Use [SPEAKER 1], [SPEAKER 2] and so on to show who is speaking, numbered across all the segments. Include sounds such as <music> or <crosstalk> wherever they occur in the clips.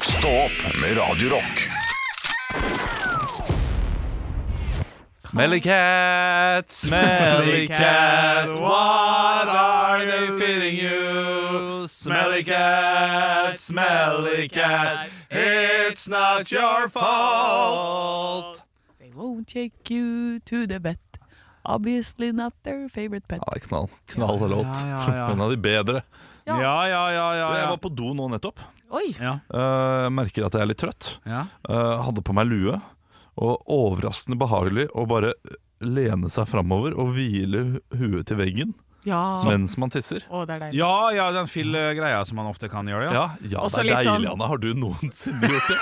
[SPEAKER 1] Stå opp med Radio Rock.
[SPEAKER 2] Smelly cat, smelly cat, what are they feeding you? Smelly cat, smelly cat, it's not your fault.
[SPEAKER 3] They won't take you to the vet. Obviously not their favorite pet.
[SPEAKER 2] Ja, knall, knall låt.
[SPEAKER 4] Ja, ja,
[SPEAKER 2] <laughs>
[SPEAKER 4] ja.
[SPEAKER 2] En av de bedre.
[SPEAKER 4] Ja, ja, ja. ja,
[SPEAKER 2] Jeg
[SPEAKER 4] ja.
[SPEAKER 2] var på do nå nettopp.
[SPEAKER 3] Oi!
[SPEAKER 4] ja.
[SPEAKER 2] Eh, merker at jeg er litt trøtt.
[SPEAKER 4] ja.
[SPEAKER 2] Eh, hadde på meg lue. Og overraskende behagelig å bare eh, lene seg framover og hvile huet til veggen
[SPEAKER 3] Ja.
[SPEAKER 2] mens man tisser.
[SPEAKER 3] Å, det er deilig.
[SPEAKER 4] Ja, ja, den fill-greia som man ofte kan gjøre, ja.
[SPEAKER 2] Ja, ja det
[SPEAKER 3] Også
[SPEAKER 2] er
[SPEAKER 3] litt
[SPEAKER 2] deilig,
[SPEAKER 3] sånn-
[SPEAKER 2] Anna. Har du noensinne gjort det?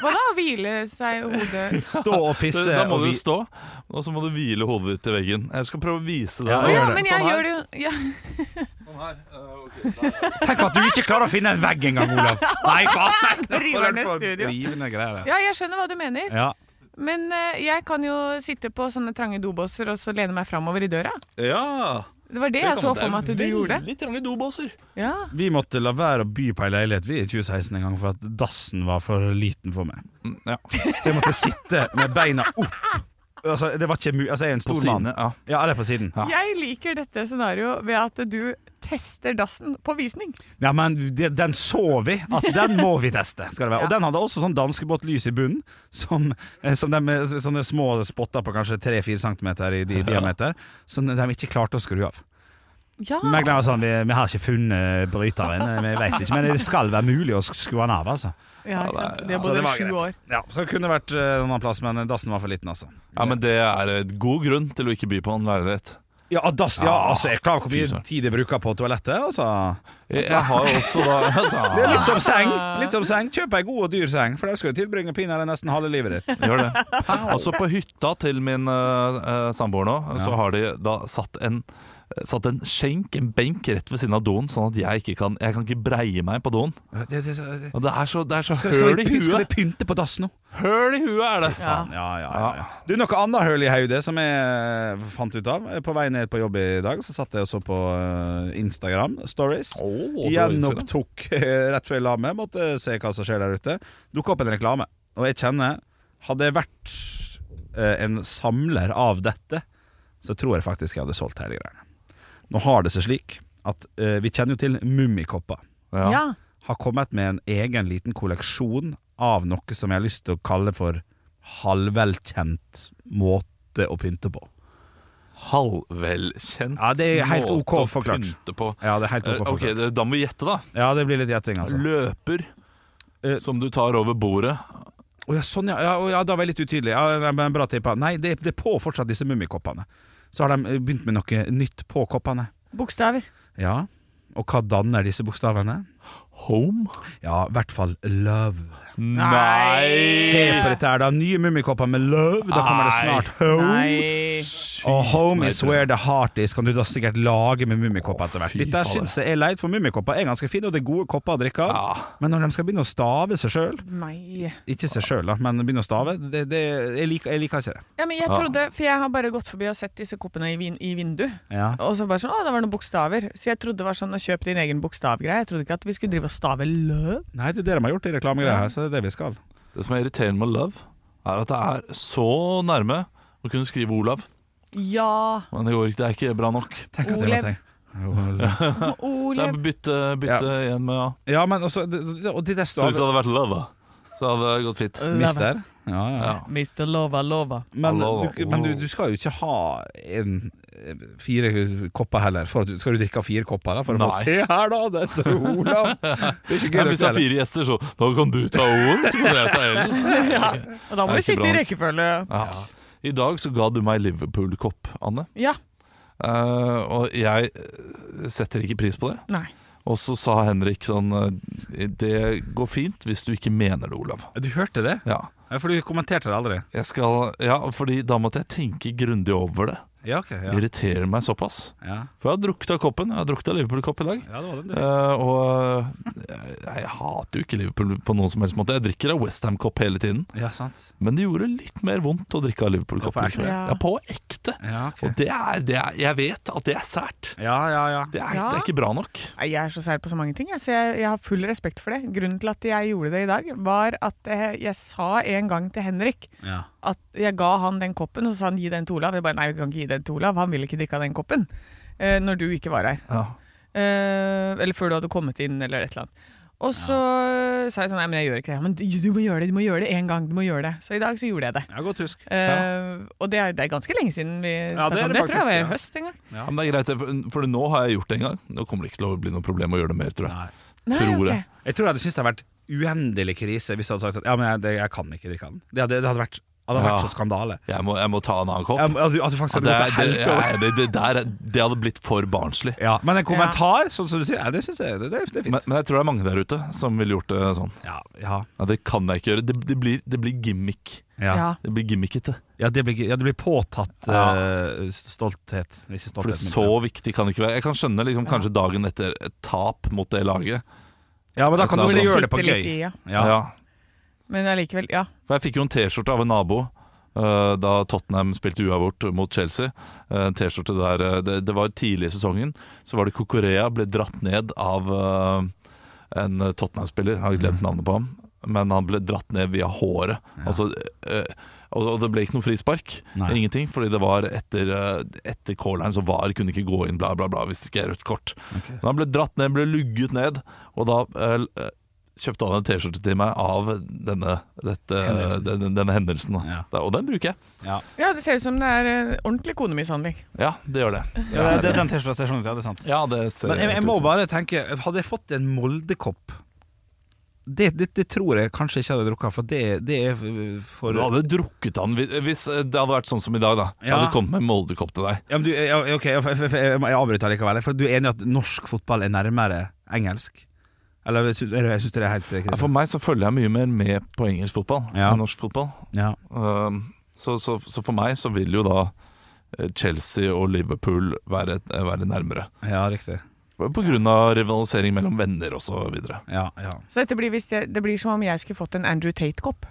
[SPEAKER 3] Hva da? Hvile seg i hodet
[SPEAKER 4] Stå og pisse
[SPEAKER 2] Da må
[SPEAKER 4] eh, og
[SPEAKER 2] du
[SPEAKER 4] vi-
[SPEAKER 2] stå, og så må du hvile hodet ditt til veggen. Jeg skal prøve å vise deg
[SPEAKER 4] Ja,
[SPEAKER 3] Å
[SPEAKER 2] nå.
[SPEAKER 3] ja,
[SPEAKER 4] gjør det.
[SPEAKER 3] men
[SPEAKER 2] Sånn
[SPEAKER 3] jeg
[SPEAKER 2] her.
[SPEAKER 3] gjør det jo ja.
[SPEAKER 2] Sånn Eh,
[SPEAKER 4] Tenk at du ikke klarer å finne en vegg engang, <laughs> Olav! Nei, faen!
[SPEAKER 3] Rivende studio.
[SPEAKER 4] Rivende greier.
[SPEAKER 3] ja, jeg skjønner hva du mener.
[SPEAKER 4] Ja.
[SPEAKER 3] Men eh, jeg kan jo sitte på sånne trange dobåser og så lene meg framover i døra.
[SPEAKER 2] Ja.
[SPEAKER 3] Det var det jeg så for meg at du gjorde.
[SPEAKER 2] Veldig trange dobåser.
[SPEAKER 3] Ja.
[SPEAKER 4] Vi måtte la være å by på ei leilighet vi i 2016 en gang for at dassen var for liten for meg.
[SPEAKER 2] Mm, Ja.
[SPEAKER 4] Så jeg måtte sitte med beina opp. Altså, det var ikke mu altså, jeg er en
[SPEAKER 2] På
[SPEAKER 4] stor mann.
[SPEAKER 2] sidene. Ja.
[SPEAKER 4] Ja, eller på siden. Ja,
[SPEAKER 3] Jeg liker dette scenarioet ved at du tester dassen på visning.
[SPEAKER 4] men det, den så vi at den må vi teste. Skal <laughs> det være. Og den hadde også sånn danskebåtlys i bunnen, som, eh, som de, med sånne små spotter på kanskje 3-4 cm i <laughs> di diameter, som de ikke klarte å skru av.
[SPEAKER 3] Ja.
[SPEAKER 4] Megleren var sånn, vi, vi har ikke funnet bryteren, eh, vi vet ikke, men det skal være mulig å skru den av, altså.
[SPEAKER 3] ja, ikke sant. Det
[SPEAKER 4] Så
[SPEAKER 3] bodde
[SPEAKER 4] det
[SPEAKER 3] vi
[SPEAKER 4] var
[SPEAKER 3] sju
[SPEAKER 4] greit.
[SPEAKER 3] år.
[SPEAKER 4] Ja, så det kunne vært eh, en annen plass, men dassen var for liten, altså.
[SPEAKER 2] ja, men det er et god grunn til å ikke by på en leilighet.
[SPEAKER 4] Ja, dass, ja, altså, jeg klarer hvor
[SPEAKER 2] Fy
[SPEAKER 4] mye
[SPEAKER 2] søren.
[SPEAKER 4] tid jeg bruker på toalettet, altså.
[SPEAKER 2] Jeg, jeg har jo også da
[SPEAKER 4] Det er
[SPEAKER 2] altså,
[SPEAKER 4] litt som seng. Litt som seng. Kjøp ei god og dyr seng, for der skal du tilbringe pinadø nesten halve livet <laughs> ditt.
[SPEAKER 2] Gjør det. Altså, på hytta til min eh, eh, samboer nå, så har de da satt en Satt en skjenk, en benk, rett ved siden av doen, sånn at jeg ikke kan Jeg kan ikke breie meg på doen.
[SPEAKER 4] Det- det- det-
[SPEAKER 2] Og det er så, det er så
[SPEAKER 4] Skal, skal,
[SPEAKER 2] høl
[SPEAKER 4] vi,
[SPEAKER 2] i
[SPEAKER 4] py- skal vi
[SPEAKER 2] huet!
[SPEAKER 4] pynte på dass nå?
[SPEAKER 2] Høl i huet er det!
[SPEAKER 3] Ja.
[SPEAKER 4] Ja, ja, ja, ja. Du, noe annet høl i hodet som jeg eh, fant ut av. På vei ned på jobb i dag Så satt jeg og så på eh, Instagram Stories.
[SPEAKER 2] Åh, det var Instagram.
[SPEAKER 4] Gjenopptok <laughs> eh, rett før jeg la meg. Måtte se hva som skjer der ute. Dukka opp en reklame, og jeg kjenner Hadde jeg vært eh, en samler av dette, så tror jeg faktisk jeg hadde solgt hele greiene. Nå har det seg slik at eh, vi kjenner jo til Mummikopper.
[SPEAKER 3] Ja.
[SPEAKER 4] Har kommet med en egen liten kolleksjon av noe som jeg har lyst til å kalle for halvvelkjent måte å pynte på.
[SPEAKER 2] Halvvelkjent
[SPEAKER 4] Ja, det er helt
[SPEAKER 2] måte
[SPEAKER 4] ok
[SPEAKER 2] å
[SPEAKER 4] forklart.
[SPEAKER 2] pynte på.
[SPEAKER 4] Ja, det er helt ok.
[SPEAKER 2] Eh, Ok,
[SPEAKER 4] forklart.
[SPEAKER 2] det, Da må vi gjette, da.
[SPEAKER 4] Ja, det blir litt gjetting, altså.
[SPEAKER 2] Løper
[SPEAKER 4] Eh,
[SPEAKER 2] som du tar over bordet.
[SPEAKER 4] Å ja, sånn ja. Ja, å ja, da var jeg litt utydelig. Ja, nei, men bra tippa. Nei, det, det er på fortsatt disse mummikoppene. Så har de eh, begynt med noe nytt på koppene.
[SPEAKER 3] Bokstaver.
[SPEAKER 4] Ja. Og hva danner disse bokstavene?
[SPEAKER 2] Home?
[SPEAKER 4] Ja, i hvert fall love.
[SPEAKER 2] Nei!
[SPEAKER 4] Se på dette her, da. Nye mummikopper med love. Da kommer det snart home.
[SPEAKER 3] Nei.
[SPEAKER 4] Og home is where the heart is kan du da sikkert lage med mummikopper etter hvert.
[SPEAKER 2] fy
[SPEAKER 4] Dette
[SPEAKER 2] fader.
[SPEAKER 4] syns jeg er leit, for mummikopper er ganske fine, og det er gode kopper å drikke av. Men når de skal begynne å stave seg sjøl
[SPEAKER 3] Nei.
[SPEAKER 4] Ikke seg sjøl, da, men begynne å stave, det, det, jeg, liker, jeg liker ikke det.
[SPEAKER 3] Ja, men jeg trodde, for jeg har bare gått forbi og sett disse koppene i, vin, i vindu.
[SPEAKER 4] Ja.
[SPEAKER 3] Og så bare sånn, å, det var noen bokstaver. Så jeg trodde det var sånn å kjøpe din egen bokstavgreie. Jeg trodde ikke at vi skulle drive og stave løv.
[SPEAKER 4] Nei, det er det de har gjort i reklamegreia her, så det er det vi skal.
[SPEAKER 2] Det som er irriterende med Love, er at det er så nærme å kunne skrive Olav.
[SPEAKER 3] Ja.
[SPEAKER 2] Men det går ikke, det er ikke bra nok.
[SPEAKER 4] Tenk at det
[SPEAKER 3] Olev.
[SPEAKER 4] var tenkt. Olev.
[SPEAKER 2] Det er
[SPEAKER 3] Olev.
[SPEAKER 2] bytte, bytte igjen med ja.
[SPEAKER 4] Ja, men også det- det- Og de der
[SPEAKER 2] Så hvis det
[SPEAKER 4] stavene
[SPEAKER 2] hadde vært Love, da, så hadde det gått fint.
[SPEAKER 4] Mister. Ja, ja.
[SPEAKER 2] Ja.
[SPEAKER 3] Mr. Lova Lova.
[SPEAKER 4] Men,
[SPEAKER 2] Hallo.
[SPEAKER 4] du, men du, du skal jo ikke ha en, eh, fire kopper heller. For at du, skal du drikke av fire kopper da, for å
[SPEAKER 2] Nei.
[SPEAKER 4] få Se her, da! Der står Olav! Det er ikke
[SPEAKER 2] Men
[SPEAKER 4] gøy nok
[SPEAKER 2] hvis det
[SPEAKER 4] heller.
[SPEAKER 2] er fire gjester, så Da kan du ta O-en, så kan jeg ta L-en.
[SPEAKER 3] <laughs> Ja. Og
[SPEAKER 2] Det
[SPEAKER 3] da må
[SPEAKER 2] er ikke
[SPEAKER 3] vi sitte
[SPEAKER 2] bra
[SPEAKER 3] i
[SPEAKER 2] nok.
[SPEAKER 3] rekkefølge.
[SPEAKER 2] Ja. I dag så ga du meg Liverpool-kopp, Anne.
[SPEAKER 3] Ja.
[SPEAKER 2] Eh, og jeg eh, setter ikke pris på det.
[SPEAKER 3] Nei.
[SPEAKER 2] Og så sa Henrik sånn eh, Det går fint hvis du ikke mener det, Olav.
[SPEAKER 4] Du hørte det?
[SPEAKER 2] Ja,
[SPEAKER 4] Ja, for du kommenterte det aldri.
[SPEAKER 2] jeg skal, ja fordi da måtte jeg tenke grundig over det.
[SPEAKER 4] Ja, ok. Ja.
[SPEAKER 2] Irriterer meg såpass.
[SPEAKER 4] Ja.
[SPEAKER 2] For jeg har drukket av koppen. Jeg har drukket av Liverpool-kopp i dag.
[SPEAKER 4] ja, det var den, du.
[SPEAKER 2] Eh, og eh, jeg, jeg hater jo ikke Liverpool på noen som helst måte. Jeg drikker av Westham-kopp hele tiden.
[SPEAKER 4] Ja, sant.
[SPEAKER 2] Men det gjorde litt mer vondt å drikke av Liverpool-kopp.
[SPEAKER 4] Ja, på
[SPEAKER 2] likevel.
[SPEAKER 3] ekte.
[SPEAKER 2] Ja, på ekte.
[SPEAKER 4] Ja, ok.
[SPEAKER 2] Og det er, det er Jeg vet at det er sært.
[SPEAKER 4] Ja, ja, ja.
[SPEAKER 2] Det er,
[SPEAKER 3] Ja.
[SPEAKER 2] det er ikke bra nok.
[SPEAKER 3] Nei, Jeg er så sær på så mange ting, jeg, så jeg, jeg har full respekt for det. Grunnen til at jeg gjorde det i dag, var at jeg, jeg sa en gang til Henrik
[SPEAKER 4] Ja.
[SPEAKER 3] at jeg ga han den koppen, og så sa han gi den til Olav. Jeg bare nei, vi kan ikke gi den til Olav, han vil ikke drikke av den koppen. Eh, når du ikke var her.
[SPEAKER 2] Ja.
[SPEAKER 3] Eh, eller før du hadde kommet inn, eller et eller annet. Og så sa jeg sånn nei, men jeg gjør ikke det. Ja, Men du, du må gjøre det, du må gjøre det én gang. du må gjøre det. Så i dag så gjorde jeg det.
[SPEAKER 4] ja godt husk.
[SPEAKER 3] Eh, Og det er, det er ganske lenge siden vi
[SPEAKER 4] Ja,
[SPEAKER 3] snakka
[SPEAKER 4] det er
[SPEAKER 3] om
[SPEAKER 4] det
[SPEAKER 3] det. Jeg tror
[SPEAKER 4] faktisk,
[SPEAKER 3] jeg var
[SPEAKER 4] ja.
[SPEAKER 3] i høst en gang.
[SPEAKER 4] Ja.
[SPEAKER 2] men det er greit, det, for- for nå har jeg gjort det en gang. Nå kommer det ikke til å bli noe problem å gjøre det mer, tror jeg.
[SPEAKER 4] Nei.
[SPEAKER 2] Tror
[SPEAKER 3] ok.
[SPEAKER 2] jeg.
[SPEAKER 4] Jeg tror jeg hadde syntes det hadde vært uendelig krise hvis du hadde sagt at ja, men jeg, det, jeg kan ikke drikke av den. Det hadde, det hadde vært, hadde
[SPEAKER 2] Ja.
[SPEAKER 4] vært så skandale.
[SPEAKER 2] Jeg må, jeg må ta en annen kopp.
[SPEAKER 4] Ja, men at du- at du faktisk
[SPEAKER 2] Ja,
[SPEAKER 4] hadde
[SPEAKER 2] det, er,
[SPEAKER 4] gått og
[SPEAKER 2] det,
[SPEAKER 4] helt
[SPEAKER 2] ja,
[SPEAKER 4] over.
[SPEAKER 2] det, det, der, er- det hadde blitt for barnslig.
[SPEAKER 4] Ja, men en kommentar, sånn som du sier, ja, det syns jeg det, det, er- det er fint.
[SPEAKER 2] Men, men jeg tror det er mange der ute som ville gjort det sånn.
[SPEAKER 4] ja, ja,
[SPEAKER 2] Ja, det kan jeg ikke gjøre. Det, det, blir, det blir gimmick.
[SPEAKER 4] ja.
[SPEAKER 3] Ja.
[SPEAKER 4] ja.
[SPEAKER 2] Det blir gimmickete.
[SPEAKER 4] det blir, ja, det blir påtatt
[SPEAKER 2] Ja.
[SPEAKER 4] eh, stolthet. Ikke stolthet,
[SPEAKER 2] For
[SPEAKER 4] men-
[SPEAKER 2] så viktig kan det ikke være. Jeg kan skjønne liksom, kanskje dagen etter et tap mot det laget.
[SPEAKER 4] Ja, men da kan du
[SPEAKER 2] Altså,
[SPEAKER 4] også gjøre det
[SPEAKER 3] Sitter
[SPEAKER 4] på
[SPEAKER 3] litt i,
[SPEAKER 4] gøy.
[SPEAKER 3] ja.
[SPEAKER 4] Ja.
[SPEAKER 2] Ja.
[SPEAKER 3] Men allikevel, ja.
[SPEAKER 2] For jeg fikk jo en T-skjorte av en nabo. eh, da Tottenham spilte uavgjort mot Chelsea. Eh, En T-skjorte der eh, det, det var tidlig i sesongen. Så var det Kokorea ble dratt ned av eh, en Tottenham-spiller. Jeg har glemt navnet på ham. Men han ble dratt ned via håret. Altså, eh, og og det ble ikke noe frispark.
[SPEAKER 4] Nei.
[SPEAKER 2] Ingenting. Fordi det var etter, eh, etter corneren, så VAR kunne ikke gå inn, bla, bla, bla, hvis det ikke er rødt kort. Men han ble dratt ned, ble lugget ned, og da eh, kjøpte han en T-skjorte til meg av denne, dette,
[SPEAKER 4] Hendelsen.
[SPEAKER 2] denne, denne hendelsen. da.
[SPEAKER 4] Ja.
[SPEAKER 2] Da- Og den bruker jeg.
[SPEAKER 4] Ja.
[SPEAKER 3] ja, det ser ut som det er eh, ordentlig konemishandling.
[SPEAKER 2] Ja, det gjør det.
[SPEAKER 4] Ja, det, det, den T-skjorta ser sånn ut, ja, det er sant.
[SPEAKER 2] Ja, det ser
[SPEAKER 4] Men jeg, jeg
[SPEAKER 2] helt
[SPEAKER 4] må
[SPEAKER 2] ut som-
[SPEAKER 4] bare tenke Hadde jeg fått en Moldekopp det, det, det tror jeg kanskje ikke hadde drukket For det, det er f- for
[SPEAKER 2] Du
[SPEAKER 4] ja,
[SPEAKER 2] hadde drukket han hvis- hvis det hadde vært sånn som i dag, da. Jeg
[SPEAKER 4] Ja.
[SPEAKER 2] hadde kommet med en Moldekopp til deg.
[SPEAKER 4] men du, ja, ok, jeg, jeg, jeg, jeg må- jeg avbryter likevel For du er enig i at norsk fotball er nærmere engelsk Eller jeg sy- eller jeg synes det er helt eh,
[SPEAKER 2] Ja,
[SPEAKER 4] krise.
[SPEAKER 2] for meg så følger jeg mye mer med på engelsk fotball
[SPEAKER 4] Ja.
[SPEAKER 2] enn norsk fotball.
[SPEAKER 4] ja.
[SPEAKER 2] Um, så, så, så for meg så vil jo da eh, Chelsea og Liverpool være, eh, være nærmere.
[SPEAKER 4] ja, riktig
[SPEAKER 2] På grunn av rivalisering mellom venner og så videre.
[SPEAKER 4] ja, ja.
[SPEAKER 3] Så dette blir, hvis det, det blir som om jeg skulle fått en Andrew Tate-kopp.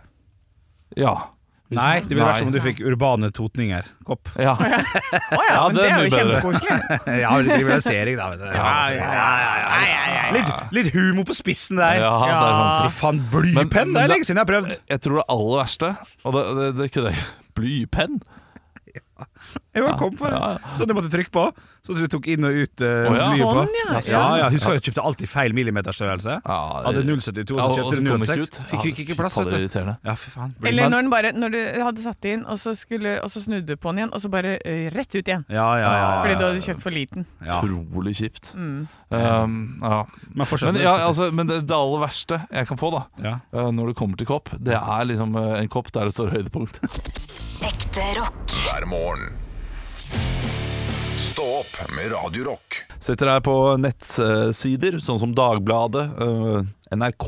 [SPEAKER 2] Ja. Hvis-
[SPEAKER 4] Nei, det ville vært som om du
[SPEAKER 3] Nei.
[SPEAKER 4] fikk urbane totninger Kopp
[SPEAKER 2] Ja.
[SPEAKER 3] Å ja,
[SPEAKER 2] Ja,
[SPEAKER 3] men
[SPEAKER 2] det er
[SPEAKER 3] det er jo
[SPEAKER 2] mye bedre.
[SPEAKER 3] kjempekoselig.
[SPEAKER 4] Ja, men det blir rivalisering da vet du.
[SPEAKER 2] Ja,
[SPEAKER 3] ja, ja, ja, ja.
[SPEAKER 4] Litt, litt humor på spissen der
[SPEAKER 2] Ja, det er sant.
[SPEAKER 4] Fy faen,
[SPEAKER 2] Men-
[SPEAKER 4] blypenn, det
[SPEAKER 2] men
[SPEAKER 4] er
[SPEAKER 2] da-
[SPEAKER 4] lenge siden jeg har prøvd
[SPEAKER 2] Jeg tror det aller verste Og det, det, det kunne jeg <laughs> Blypenn?
[SPEAKER 4] Jeg var kom for det.
[SPEAKER 2] Ja, ja.
[SPEAKER 4] Så du måtte trykke på. Så du tok inn og ut eh,
[SPEAKER 2] Å, ja.
[SPEAKER 4] mye på.
[SPEAKER 3] Sånn, ja,
[SPEAKER 4] ja.
[SPEAKER 3] ja.
[SPEAKER 4] ja, Husker jeg kjøpte alltid feil millimeterstørrelse.
[SPEAKER 2] Ja,
[SPEAKER 4] Hadde 0,72, og så
[SPEAKER 2] og- og
[SPEAKER 4] kjøpte du
[SPEAKER 2] kom det
[SPEAKER 4] 0,6.
[SPEAKER 2] ut.
[SPEAKER 4] Fikk
[SPEAKER 2] Ja,
[SPEAKER 4] ikke,
[SPEAKER 2] fy
[SPEAKER 4] ikke plass,
[SPEAKER 2] faen, det er
[SPEAKER 4] vet du.
[SPEAKER 2] irriterende.
[SPEAKER 4] Ja, fy faen. Blir
[SPEAKER 3] Eller
[SPEAKER 4] man-
[SPEAKER 3] når, den bare, når du hadde satt inn, og så, skulle, og så snudde du på den igjen, og så bare eh, rett ut igjen.
[SPEAKER 4] ja, ja, ja, ja.
[SPEAKER 3] Fordi du hadde kjøpt for liten.
[SPEAKER 4] Ja.
[SPEAKER 2] Utrolig kjipt. Um, ja.
[SPEAKER 4] Men fortsatt
[SPEAKER 2] Men, ja, altså, men det, det aller verste jeg kan få, da,
[SPEAKER 4] ja.
[SPEAKER 2] uh, når det kommer til kopp, det er liksom uh, en kopp der det står høydepunkt.
[SPEAKER 5] Ekte rock.
[SPEAKER 1] hver morgen. Stå opp med Radio Rock.
[SPEAKER 2] Setter deg på nettsider, sånn som Dagbladet, uh, NRK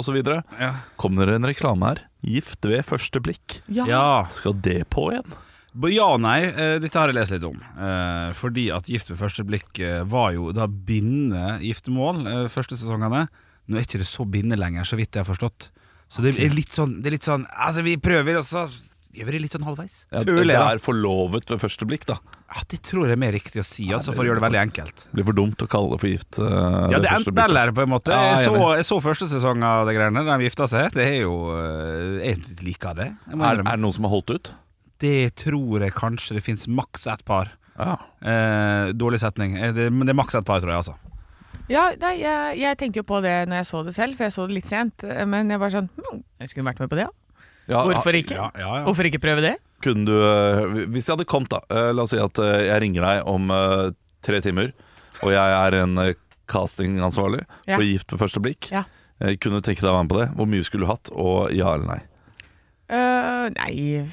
[SPEAKER 2] osv.
[SPEAKER 4] Ja.
[SPEAKER 2] Kommer det en reklame her. 'Gift ved første blikk'.
[SPEAKER 4] ja.
[SPEAKER 2] Skal det på igjen?
[SPEAKER 4] Bo- Ja og nei, eh, dette har jeg lest litt om. Eh, fordi at Gift ved første blikk eh, var jo da bindende giftermål eh, første sesongene. Nå er ikke det så bindende lenger, så vidt jeg har forstått. Så det er litt sånn, det er litt sånn Altså, vi prøver, og så gjør vi det litt sånn halvveis.
[SPEAKER 2] Ja, det
[SPEAKER 4] Føler jeg. da.
[SPEAKER 2] er forlovet ved første blikk, da.
[SPEAKER 4] Ja, det tror jeg er mer riktig å si, altså, for å gjøre det veldig enkelt.
[SPEAKER 2] Blir for dumt å kalle det for gift. Uh,
[SPEAKER 4] Ja,
[SPEAKER 2] ved
[SPEAKER 4] det er
[SPEAKER 2] første
[SPEAKER 4] enten
[SPEAKER 2] blikk.
[SPEAKER 4] eller, på en måte.
[SPEAKER 2] Ja, jeg er
[SPEAKER 4] Jeg så, jeg så første sesong av de greiene der de gifta seg. Det er jo eh, Jeg liker det. Jeg må
[SPEAKER 2] Er,
[SPEAKER 4] innrømme.
[SPEAKER 2] er det noen som har holdt ut?
[SPEAKER 4] Det tror jeg kanskje det fins maks ett par.
[SPEAKER 2] Ja.
[SPEAKER 4] Eh, dårlig setning, Eh, det, men det er maks ett par, tror jeg, altså.
[SPEAKER 3] Ja, nei, jeg, jeg tenkte jo på det når jeg så det selv, for jeg så det litt sent. eh, Men jeg var sånn hm, Jeg skulle vært med på det, ja. Hvorfor ikke?
[SPEAKER 4] Ja, ja, ja.
[SPEAKER 3] Hvorfor ikke prøve det?
[SPEAKER 2] Kunne du eh, Hvis jeg hadde kommet, da. eh, La oss si at eh, jeg ringer deg om eh, tre timer, og jeg er en eh, castingansvarlig
[SPEAKER 3] Ja.
[SPEAKER 2] for Gift ved første blikk.
[SPEAKER 3] Ja.
[SPEAKER 2] Eh, Kunne du tenke deg å være med på det? Hvor mye skulle du hatt, og ja eller nei?
[SPEAKER 3] Eh, nei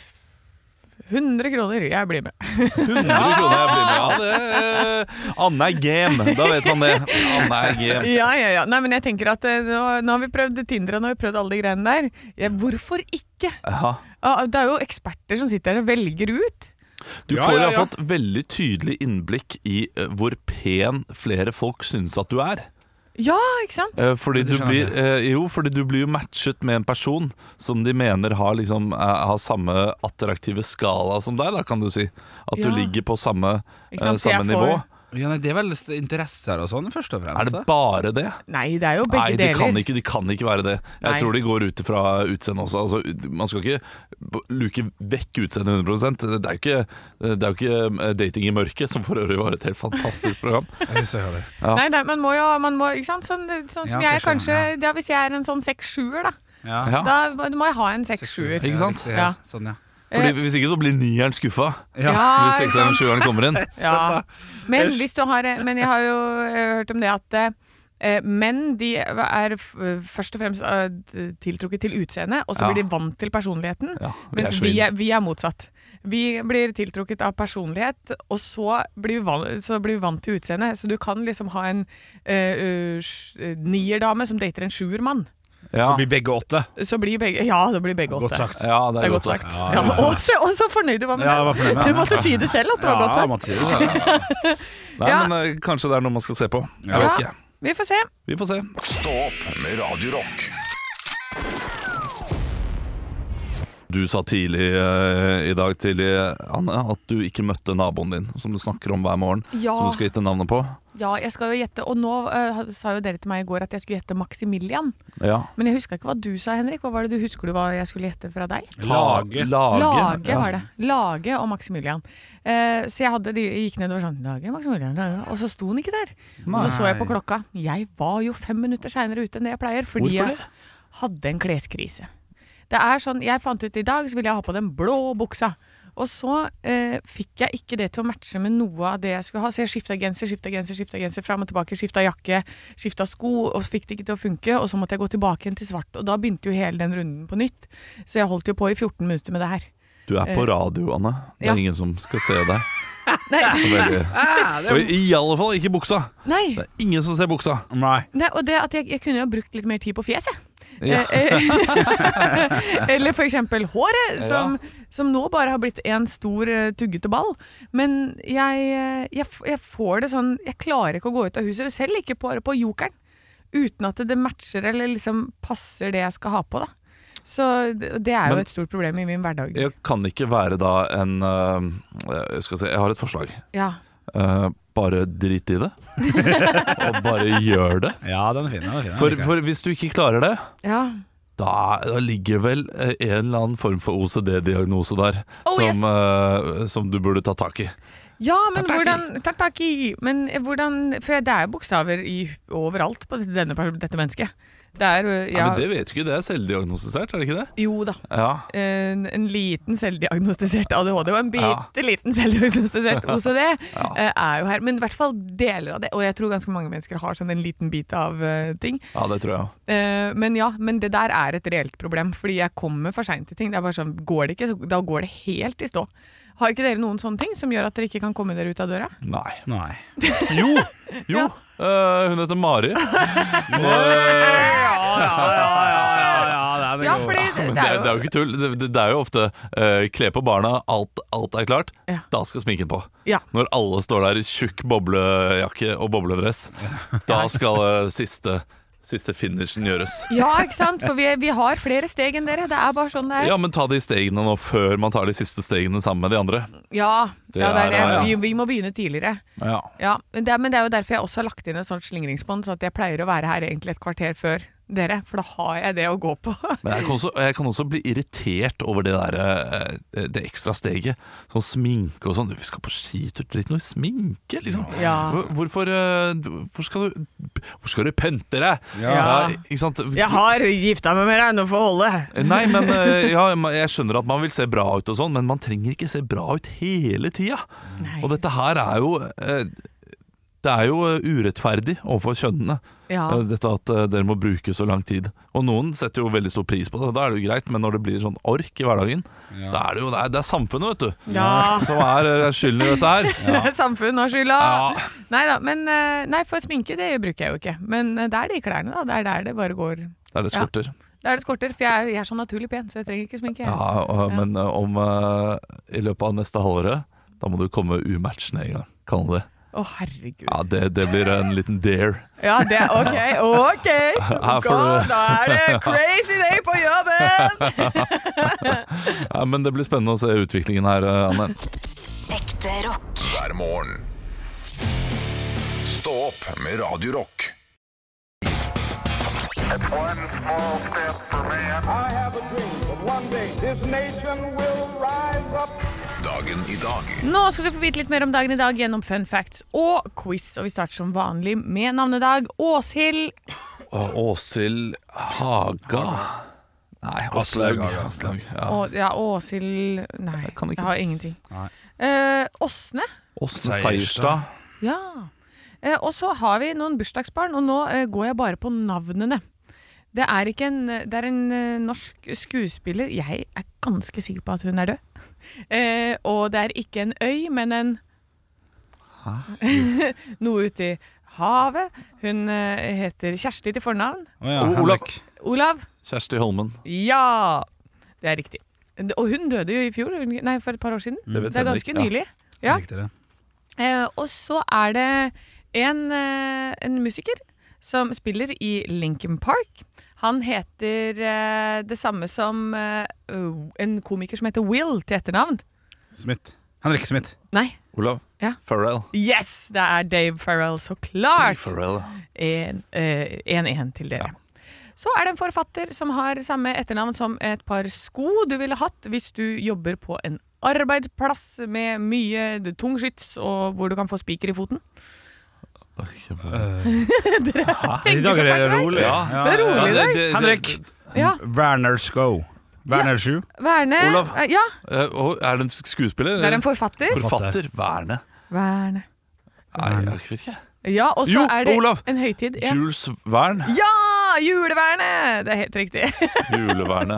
[SPEAKER 3] 100 kroner, jeg blir med.
[SPEAKER 2] 100 kroner jeg blir med. Ja, det eh, Anne er game, da vet man det. Anne er game.
[SPEAKER 3] Ja, ja, ja. Nei, men jeg tenker at eh, nå, nå har vi prøvd Tinder, og nå har vi prøvd alle de greiene der. Ja, hvorfor ikke?
[SPEAKER 2] Ja.
[SPEAKER 3] Ah, Det er jo eksperter som sitter her og velger ut.
[SPEAKER 2] Du
[SPEAKER 4] Ja,
[SPEAKER 2] får i
[SPEAKER 4] ja,
[SPEAKER 2] hvert fall et veldig tydelig innblikk i eh, hvor pen flere folk syns at du er.
[SPEAKER 3] Ja, ikke sant?
[SPEAKER 2] Eh, Fordi du,
[SPEAKER 4] Det skjønner jeg
[SPEAKER 2] blir, eh, jo, fordi du blir jo matchet med en person som de mener har, liksom, eh, har samme attraktive skala som deg, da, kan du si. At du
[SPEAKER 3] Ja.
[SPEAKER 2] ligger på samme, eh,
[SPEAKER 3] Ikke sant, så
[SPEAKER 2] samme
[SPEAKER 3] jeg får-
[SPEAKER 2] nivå.
[SPEAKER 4] Ja, nei, det er vel st- interesser og sånn, først og fremst.
[SPEAKER 2] Er det
[SPEAKER 4] da.
[SPEAKER 2] bare det?
[SPEAKER 3] Nei, det er jo begge
[SPEAKER 2] Nei, det
[SPEAKER 3] deler.
[SPEAKER 2] kan, ikke, det kan ikke være det. Jeg
[SPEAKER 3] Nei.
[SPEAKER 2] tror de går ut ifra utseendet også. Altså, ut- man skal ikke b- luke vekk utseendet 100 Det er jo ikke, det er jo ikke eh, Dating i mørket, som for øvrig var et helt fantastisk
[SPEAKER 3] <laughs>
[SPEAKER 2] program.
[SPEAKER 4] Jeg husker jeg det.
[SPEAKER 2] Ja.
[SPEAKER 3] Nei, det, man må jo man må, ikke sant? Sånn, sånn som
[SPEAKER 4] Ja,
[SPEAKER 3] jeg
[SPEAKER 4] kanskje,
[SPEAKER 3] kanskje ja, Hvis jeg er en sånn seks-sjuer, da,
[SPEAKER 4] Ja.
[SPEAKER 2] Ja.
[SPEAKER 3] da må- da må jeg ha en seks-sjuer.
[SPEAKER 4] Seksuelt,
[SPEAKER 2] Ikke sant?
[SPEAKER 4] riktig,
[SPEAKER 3] Ja.
[SPEAKER 4] Sånn, ja.
[SPEAKER 2] Fordi Hvis ikke så blir nieren skuffa.
[SPEAKER 4] Ja.
[SPEAKER 2] <laughs> Hvis
[SPEAKER 3] ikke
[SPEAKER 2] sekseren
[SPEAKER 3] sant?
[SPEAKER 2] og sjueren kommer
[SPEAKER 3] <laughs>
[SPEAKER 2] inn.
[SPEAKER 3] Ja. Men, hvis du har, men jeg har jo eh, hørt om det at eh, menn de er f- først og fremst eh, d- tiltrukket til utseendet, og så
[SPEAKER 2] Ja.
[SPEAKER 3] blir de vant til personligheten.
[SPEAKER 2] Ja, vi er
[SPEAKER 3] mens vi
[SPEAKER 2] svin.
[SPEAKER 3] er, vi er motsatt. Vi blir tiltrukket av personlighet, og så blir vi vant, så blir vi vant til utseendet. Så du kan liksom ha en eh, eh, sj- eh, nierdame som dater en sjuermann.
[SPEAKER 2] Ja.
[SPEAKER 4] Så blir begge åtte.
[SPEAKER 3] Så blir begge Ja, det blir begge
[SPEAKER 4] Godt
[SPEAKER 3] åtte.
[SPEAKER 4] sagt.
[SPEAKER 2] ja,
[SPEAKER 3] Det er godt sagt.
[SPEAKER 2] sagt.
[SPEAKER 3] Ja, og så- Og så fornøyd du var med
[SPEAKER 4] Ja, jeg var fornøyd med
[SPEAKER 3] det. Du
[SPEAKER 4] det.
[SPEAKER 3] måtte si det selv at det var godt
[SPEAKER 4] Ja,
[SPEAKER 3] sagt.
[SPEAKER 4] måtte si det. Ja.
[SPEAKER 2] Nei,
[SPEAKER 3] Ja.
[SPEAKER 2] men eh, kanskje det er noe man skal se på. Jeg
[SPEAKER 4] Ja.
[SPEAKER 2] vet ikke.
[SPEAKER 3] Vi får se.
[SPEAKER 2] Vi får se.
[SPEAKER 1] Stå opp med Radio Rock.
[SPEAKER 2] Du sa tidlig eh, i dag tidlig, Anne, at du ikke møtte naboen din, som du snakker om hver morgen.
[SPEAKER 3] Ja.
[SPEAKER 2] Som du skal gitte navnet på.
[SPEAKER 3] Ja, jeg skal jo gjette, og nå eh, sa jo dere til meg i går at jeg skulle gjette Maximilian.
[SPEAKER 2] Ja.
[SPEAKER 3] Men jeg huska ikke hva du sa, Henrik. Hva var det du husker du hva jeg skulle gjette fra deg?
[SPEAKER 4] Lage.
[SPEAKER 2] Lage,
[SPEAKER 3] Lage
[SPEAKER 2] ja.
[SPEAKER 3] var det. Lage og Maximilian. Eh, så jeg hadde, de gikk nedover sånn Lage, Maximilian, Lage. Og så sto han ikke der. Og så så jeg på
[SPEAKER 4] Nei.
[SPEAKER 3] klokka. Jeg var jo fem minutter seinere ute enn det jeg pleier, fordi
[SPEAKER 2] Hvorfor det?
[SPEAKER 3] jeg hadde en kleskrise. Det er sånn, Jeg fant ut i dag så ville jeg ha på den blå buksa. Og så eh, fikk jeg ikke det til å matche med noe av det jeg skulle ha. Så jeg skifta genser, skifta genser, skifta genser fram og tilbake. Skifta jakke, skifta sko, og så fikk det ikke til å funke. Og så måtte jeg gå tilbake igjen til svart. Og da begynte jo hele den runden på nytt. Så jeg holdt jo på i 14 minutter med det her.
[SPEAKER 2] Du er på radio, Anne. Det er
[SPEAKER 3] Eh, ja.
[SPEAKER 2] ingen som skal se deg.
[SPEAKER 3] <laughs> Nei,
[SPEAKER 2] Veldig. Og I alle fall ikke buksa!
[SPEAKER 3] nei,
[SPEAKER 2] Det er ingen som ser buksa.
[SPEAKER 4] Nei.
[SPEAKER 3] nei og det at jeg, jeg kunne jo ha brukt litt mer tid på fjeset.
[SPEAKER 2] Ja.
[SPEAKER 3] Eh, <laughs> Eller for eksempel håret, som, som nå bare har blitt en stor eh, tuggete ball. Men jeg, eh, jeg, f- jeg får det sånn Jeg klarer ikke å gå ut av huset, selv ikke på, på jokeren. Uten at det matcher eller liksom passer det jeg skal ha på, da. Så det det er jo
[SPEAKER 2] Men-
[SPEAKER 3] et stort problem i min hverdag.
[SPEAKER 2] Jeg kan ikke være da en eh, jeg Skal se, jeg har et forslag.
[SPEAKER 3] Ja.
[SPEAKER 2] Eh, bare drit i det. Og bare gjør det.
[SPEAKER 4] Ja, den er fin. Den er fin den
[SPEAKER 2] For,
[SPEAKER 4] liker jeg.
[SPEAKER 2] for hvis du ikke klarer det,
[SPEAKER 3] ja.
[SPEAKER 2] da, da ligger vel eh, en eller annen form for OCD-diagnose der
[SPEAKER 3] Oh,
[SPEAKER 2] som,
[SPEAKER 3] yes.
[SPEAKER 2] eh, som du burde ta tak i.
[SPEAKER 3] Ja, men hvordan Tataki! Men eh, hvordan For det er jo bokstaver i, overalt på denne, per- dette mennesket. Det er øh,
[SPEAKER 2] Ja.
[SPEAKER 3] ja,
[SPEAKER 2] men det vet du ikke, det er selvdiagnostisert, er det ikke det?
[SPEAKER 3] Jo da.
[SPEAKER 2] Ja.
[SPEAKER 3] En, en liten selvdiagnostisert ADHD og en bitte
[SPEAKER 2] Ja.
[SPEAKER 3] liten selvdiagnostisert
[SPEAKER 2] <laughs>
[SPEAKER 3] OCD
[SPEAKER 2] Ja.
[SPEAKER 3] eh, er jo her. Men i hvert fall deler av det. Og jeg tror ganske mange mennesker har sånn en liten bit av eh, ting.
[SPEAKER 2] ja, det tror jeg.
[SPEAKER 3] Eh, men ja, men det der er et reelt problem, fordi jeg kommer for seint til ting. Det er bare sånn, Går det ikke, så da går det helt i stå. Har ikke dere noen sånne ting som gjør at dere ikke kan komme dere ut av døra?
[SPEAKER 2] Nei. <laughs>
[SPEAKER 4] Nei.
[SPEAKER 2] Jo! Jo! Eh, hun heter
[SPEAKER 3] <laughs>
[SPEAKER 2] Mari. Eh,
[SPEAKER 3] Ja, fordi det,
[SPEAKER 2] men
[SPEAKER 3] det er jo
[SPEAKER 2] jo ikke tull. Det, det, det er jo ofte eh, kle på barna, alt, alt er klart.
[SPEAKER 3] Ja.
[SPEAKER 2] Da skal sminken på.
[SPEAKER 3] Ja.
[SPEAKER 2] Når alle står der i tjukk boblejakke og bobledress,
[SPEAKER 3] <laughs>
[SPEAKER 2] da skal eh, siste, siste finishen gjøres.
[SPEAKER 3] Ja, ikke sant? For vi, vi har flere steg enn dere. Det er bare sånn det er.
[SPEAKER 2] Ja, men ta de stegene nå før man tar de siste stegene sammen med de andre.
[SPEAKER 3] Ja,
[SPEAKER 2] Det
[SPEAKER 3] ja, det
[SPEAKER 2] er-
[SPEAKER 3] er det.
[SPEAKER 2] ja, ja.
[SPEAKER 3] Vi, vi må begynne tidligere.
[SPEAKER 2] Ja.
[SPEAKER 3] Ja, men det, er- men det er jo derfor jeg også har lagt inn et sånt slingringsbånd, så at jeg pleier å være her egentlig et kvarter før dere, for da har jeg det å gå på. <laughs>
[SPEAKER 2] Men jeg kan, også, jeg kan også bli irritert over det der eh, Det ekstra steget. Sånn sminke og sånn. Vi skal på skitur, drit nå i sminke, liksom.
[SPEAKER 3] Ja.
[SPEAKER 2] Hvor- Hvorfor eh, hvor skal du Hvor skal du pynte deg?
[SPEAKER 3] Ja.
[SPEAKER 2] ikke sant?
[SPEAKER 3] Jeg har gifta meg med deg, nå får holde.
[SPEAKER 2] Nei, men eh, ja, ma- jeg skjønner at man vil se bra ut og sånn, men man trenger ikke se bra ut hele tida.
[SPEAKER 3] Nei.
[SPEAKER 2] Og dette her er jo eh, Det er jo eh, urettferdig overfor kjønnene. Eh,
[SPEAKER 3] Ja.
[SPEAKER 2] Dette at eh, dere må bruke så lang tid. Og noen setter jo veldig stor pris på det, da er det jo greit, men når det blir sånn ork i hverdagen, da er det jo det er, det er samfunnet, vet du,
[SPEAKER 3] Ja.
[SPEAKER 2] <laughs> som er eh, skylden i dette her.
[SPEAKER 3] <laughs> Samfunn har skylda.
[SPEAKER 2] Ja.
[SPEAKER 3] Nei da, men eh, Nei, for sminke det bruker jeg jo ikke. Men eh, det er de klærne, da. Det er der det bare går.
[SPEAKER 2] Det er det
[SPEAKER 3] Ja.
[SPEAKER 2] skorter.
[SPEAKER 3] Der det skorter. For jeg er, jeg er så naturlig pen, så jeg trenger ikke sminke. jeg.
[SPEAKER 2] Ja, og- men eh, om eh, i løpet av neste halvåret Da må du komme umatchende en gang. Kan du det?
[SPEAKER 3] Å, herregud.
[SPEAKER 2] Ja, det, det blir en liten dare.
[SPEAKER 3] Ja, det er OK. OK!
[SPEAKER 2] Her får
[SPEAKER 3] God,
[SPEAKER 2] du-
[SPEAKER 3] da er det crazy day på jobben!
[SPEAKER 2] Ja, men det blir spennende å se utviklingen her, eh, Anne.
[SPEAKER 5] Ekte rock.
[SPEAKER 1] hver morgen. Stå opp med Radio Rock.
[SPEAKER 6] I have a dream that one day this nation will rise up.
[SPEAKER 1] Dagen i dag
[SPEAKER 3] Nå skal du få vite litt mer om dagen i dag gjennom fun facts og quiz. Og vi starter som vanlig med navnedag. Åshild.
[SPEAKER 2] Å, Åshild Haga. Nei,
[SPEAKER 4] Aslaug
[SPEAKER 2] Aslaug.
[SPEAKER 4] Haga.
[SPEAKER 2] Aslaug, Ja.
[SPEAKER 3] Å, ja, Åshild Nei,
[SPEAKER 2] Jeg kan ikke.
[SPEAKER 3] jeg har ingenting.
[SPEAKER 4] Nei.
[SPEAKER 3] Eh, Åsne.
[SPEAKER 2] Åsne
[SPEAKER 4] Seierstad.
[SPEAKER 2] Seierstad.
[SPEAKER 3] Ja. Eh, og så har vi noen bursdagsbarn, og nå eh, går jeg bare på navnene. Det er, ikke en, det er en eh, norsk skuespiller Jeg er ganske sikker på at hun er død. <laughs> Eh, og det er ikke en øy, men en <laughs> Noe ute i havet. Hun eh, heter Kjersti til fornavn.
[SPEAKER 4] Å ja,
[SPEAKER 2] O- Olav.
[SPEAKER 4] Henrik.
[SPEAKER 3] Olav.
[SPEAKER 2] Kjersti Holmen.
[SPEAKER 3] Ja! Det er riktig. Og hun døde jo i fjor. hun- Nei, for et par år siden.
[SPEAKER 2] Mm. Det vet
[SPEAKER 3] Det er
[SPEAKER 2] Henrik,
[SPEAKER 3] ganske
[SPEAKER 2] ja.
[SPEAKER 3] nylig. Ja.
[SPEAKER 4] Riktig det.
[SPEAKER 3] Eh, og så er det en, eh, en musiker som spiller i Linkin Park. Han heter eh, det samme som eh, en komiker som heter Will til etternavn.
[SPEAKER 4] Smith. Henrik Smith.
[SPEAKER 3] Nei.
[SPEAKER 2] Olav.
[SPEAKER 3] Ja.
[SPEAKER 2] Farrell.
[SPEAKER 3] Yes! Det er Dave Farrell, så klart!
[SPEAKER 2] Farrell.
[SPEAKER 3] 1-1 til dere. Så er det en forfatter som har samme etternavn som et par sko du ville hatt hvis du jobber på en arbeidsplass med mye tungskyts og hvor du kan få spiker i foten.
[SPEAKER 4] Ah, I dag er det rolig. Ja.
[SPEAKER 3] Det er rolig i dag.
[SPEAKER 4] Henrik.
[SPEAKER 3] Ja.
[SPEAKER 4] Werner Skow. Werner Sju.
[SPEAKER 3] Verne
[SPEAKER 2] Olav.
[SPEAKER 3] eh, Ja,
[SPEAKER 2] Eh, og er det en sk- skuespiller?
[SPEAKER 3] det er en
[SPEAKER 2] eller?
[SPEAKER 3] forfatter.
[SPEAKER 2] forfatter. Verne.
[SPEAKER 3] Verne.
[SPEAKER 2] Nei, jeg vet ikke.
[SPEAKER 3] Ja, og så
[SPEAKER 2] Jo,
[SPEAKER 3] er det
[SPEAKER 2] Olav.
[SPEAKER 3] en høytid. Ja.
[SPEAKER 2] Jules Vern.
[SPEAKER 3] ja! Julevernet! Det er helt riktig. <laughs>
[SPEAKER 2] Juleverne.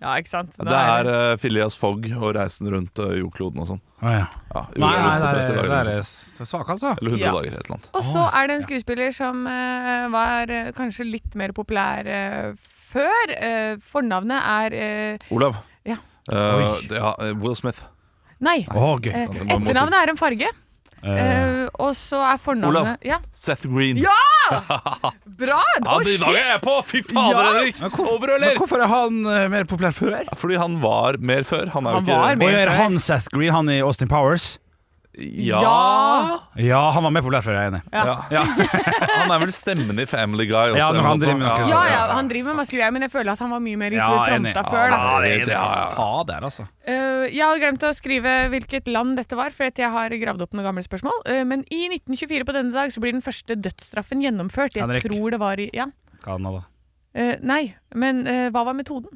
[SPEAKER 3] Ja, ikke sant? Da
[SPEAKER 2] Det
[SPEAKER 3] er
[SPEAKER 2] er eh, Phileas Fogg og reisen rundt eh, jordkloden og sånn.
[SPEAKER 4] Å ja.
[SPEAKER 2] Ja,
[SPEAKER 4] Nei, nei,
[SPEAKER 2] ulovlig på 30
[SPEAKER 4] der er,
[SPEAKER 2] dager
[SPEAKER 4] der
[SPEAKER 2] eller
[SPEAKER 4] er svak, altså.
[SPEAKER 2] sånn. Eller 100
[SPEAKER 3] Ja.
[SPEAKER 2] dager, et eller annet.
[SPEAKER 3] Og så er det en skuespiller som eh, var eh, kanskje litt mer populær eh, før. Eh, fornavnet er eh,
[SPEAKER 2] Olav.
[SPEAKER 3] Ja.
[SPEAKER 2] Eh,
[SPEAKER 4] Oi.
[SPEAKER 2] det- ja, eh, Will Smith.
[SPEAKER 3] Nei.
[SPEAKER 4] Å, gøy.
[SPEAKER 3] Eh,
[SPEAKER 2] sant, det var en måte-
[SPEAKER 3] etternavnet er en farge,
[SPEAKER 4] Eh,
[SPEAKER 3] eh, og så er
[SPEAKER 2] Olav.
[SPEAKER 3] fornavnet Ja,
[SPEAKER 2] Seth Green.
[SPEAKER 3] Ja! bra!
[SPEAKER 2] Ja,
[SPEAKER 3] Å,
[SPEAKER 2] de
[SPEAKER 3] shit!
[SPEAKER 2] dagene jeg er på! Fy fader,
[SPEAKER 3] Ja.
[SPEAKER 2] Henrik!
[SPEAKER 4] Men hvorfor-
[SPEAKER 2] Sover du,
[SPEAKER 4] men
[SPEAKER 2] eller?
[SPEAKER 4] hvorfor er han eh, mer populær før?
[SPEAKER 2] Fordi han var mer før. Han er jo
[SPEAKER 3] Han
[SPEAKER 2] ikke
[SPEAKER 3] var
[SPEAKER 4] Og
[SPEAKER 3] mer
[SPEAKER 4] er
[SPEAKER 3] før.
[SPEAKER 4] han Seth Green, han i Austin Powers?
[SPEAKER 2] Ja.
[SPEAKER 3] Ja.
[SPEAKER 4] Ja, han var mer populær før, jeg er enig.
[SPEAKER 3] Ja. <laughs>
[SPEAKER 4] Ja.
[SPEAKER 2] Han er vel stemmen i Family Guy også.
[SPEAKER 4] Ja, når han driver med noe
[SPEAKER 3] Ja, ja, han driver med masse greier, men jeg føler at han var mye mer i
[SPEAKER 4] enig.
[SPEAKER 3] fronta før. Da.
[SPEAKER 4] Ja, det er
[SPEAKER 2] Det-
[SPEAKER 4] enig.
[SPEAKER 2] ja, ja.
[SPEAKER 4] Fader, altså.
[SPEAKER 3] Eh, jeg har glemt å skrive hvilket land dette var, for at jeg har gravd opp noen gamle spørsmål. Eh, men i 1924 på denne dag så blir den første dødsstraffen gjennomført. Jeg
[SPEAKER 4] Henrik.
[SPEAKER 3] tror det var i Ja.
[SPEAKER 4] Canada.
[SPEAKER 3] Eh, nei, men eh, hva var metoden?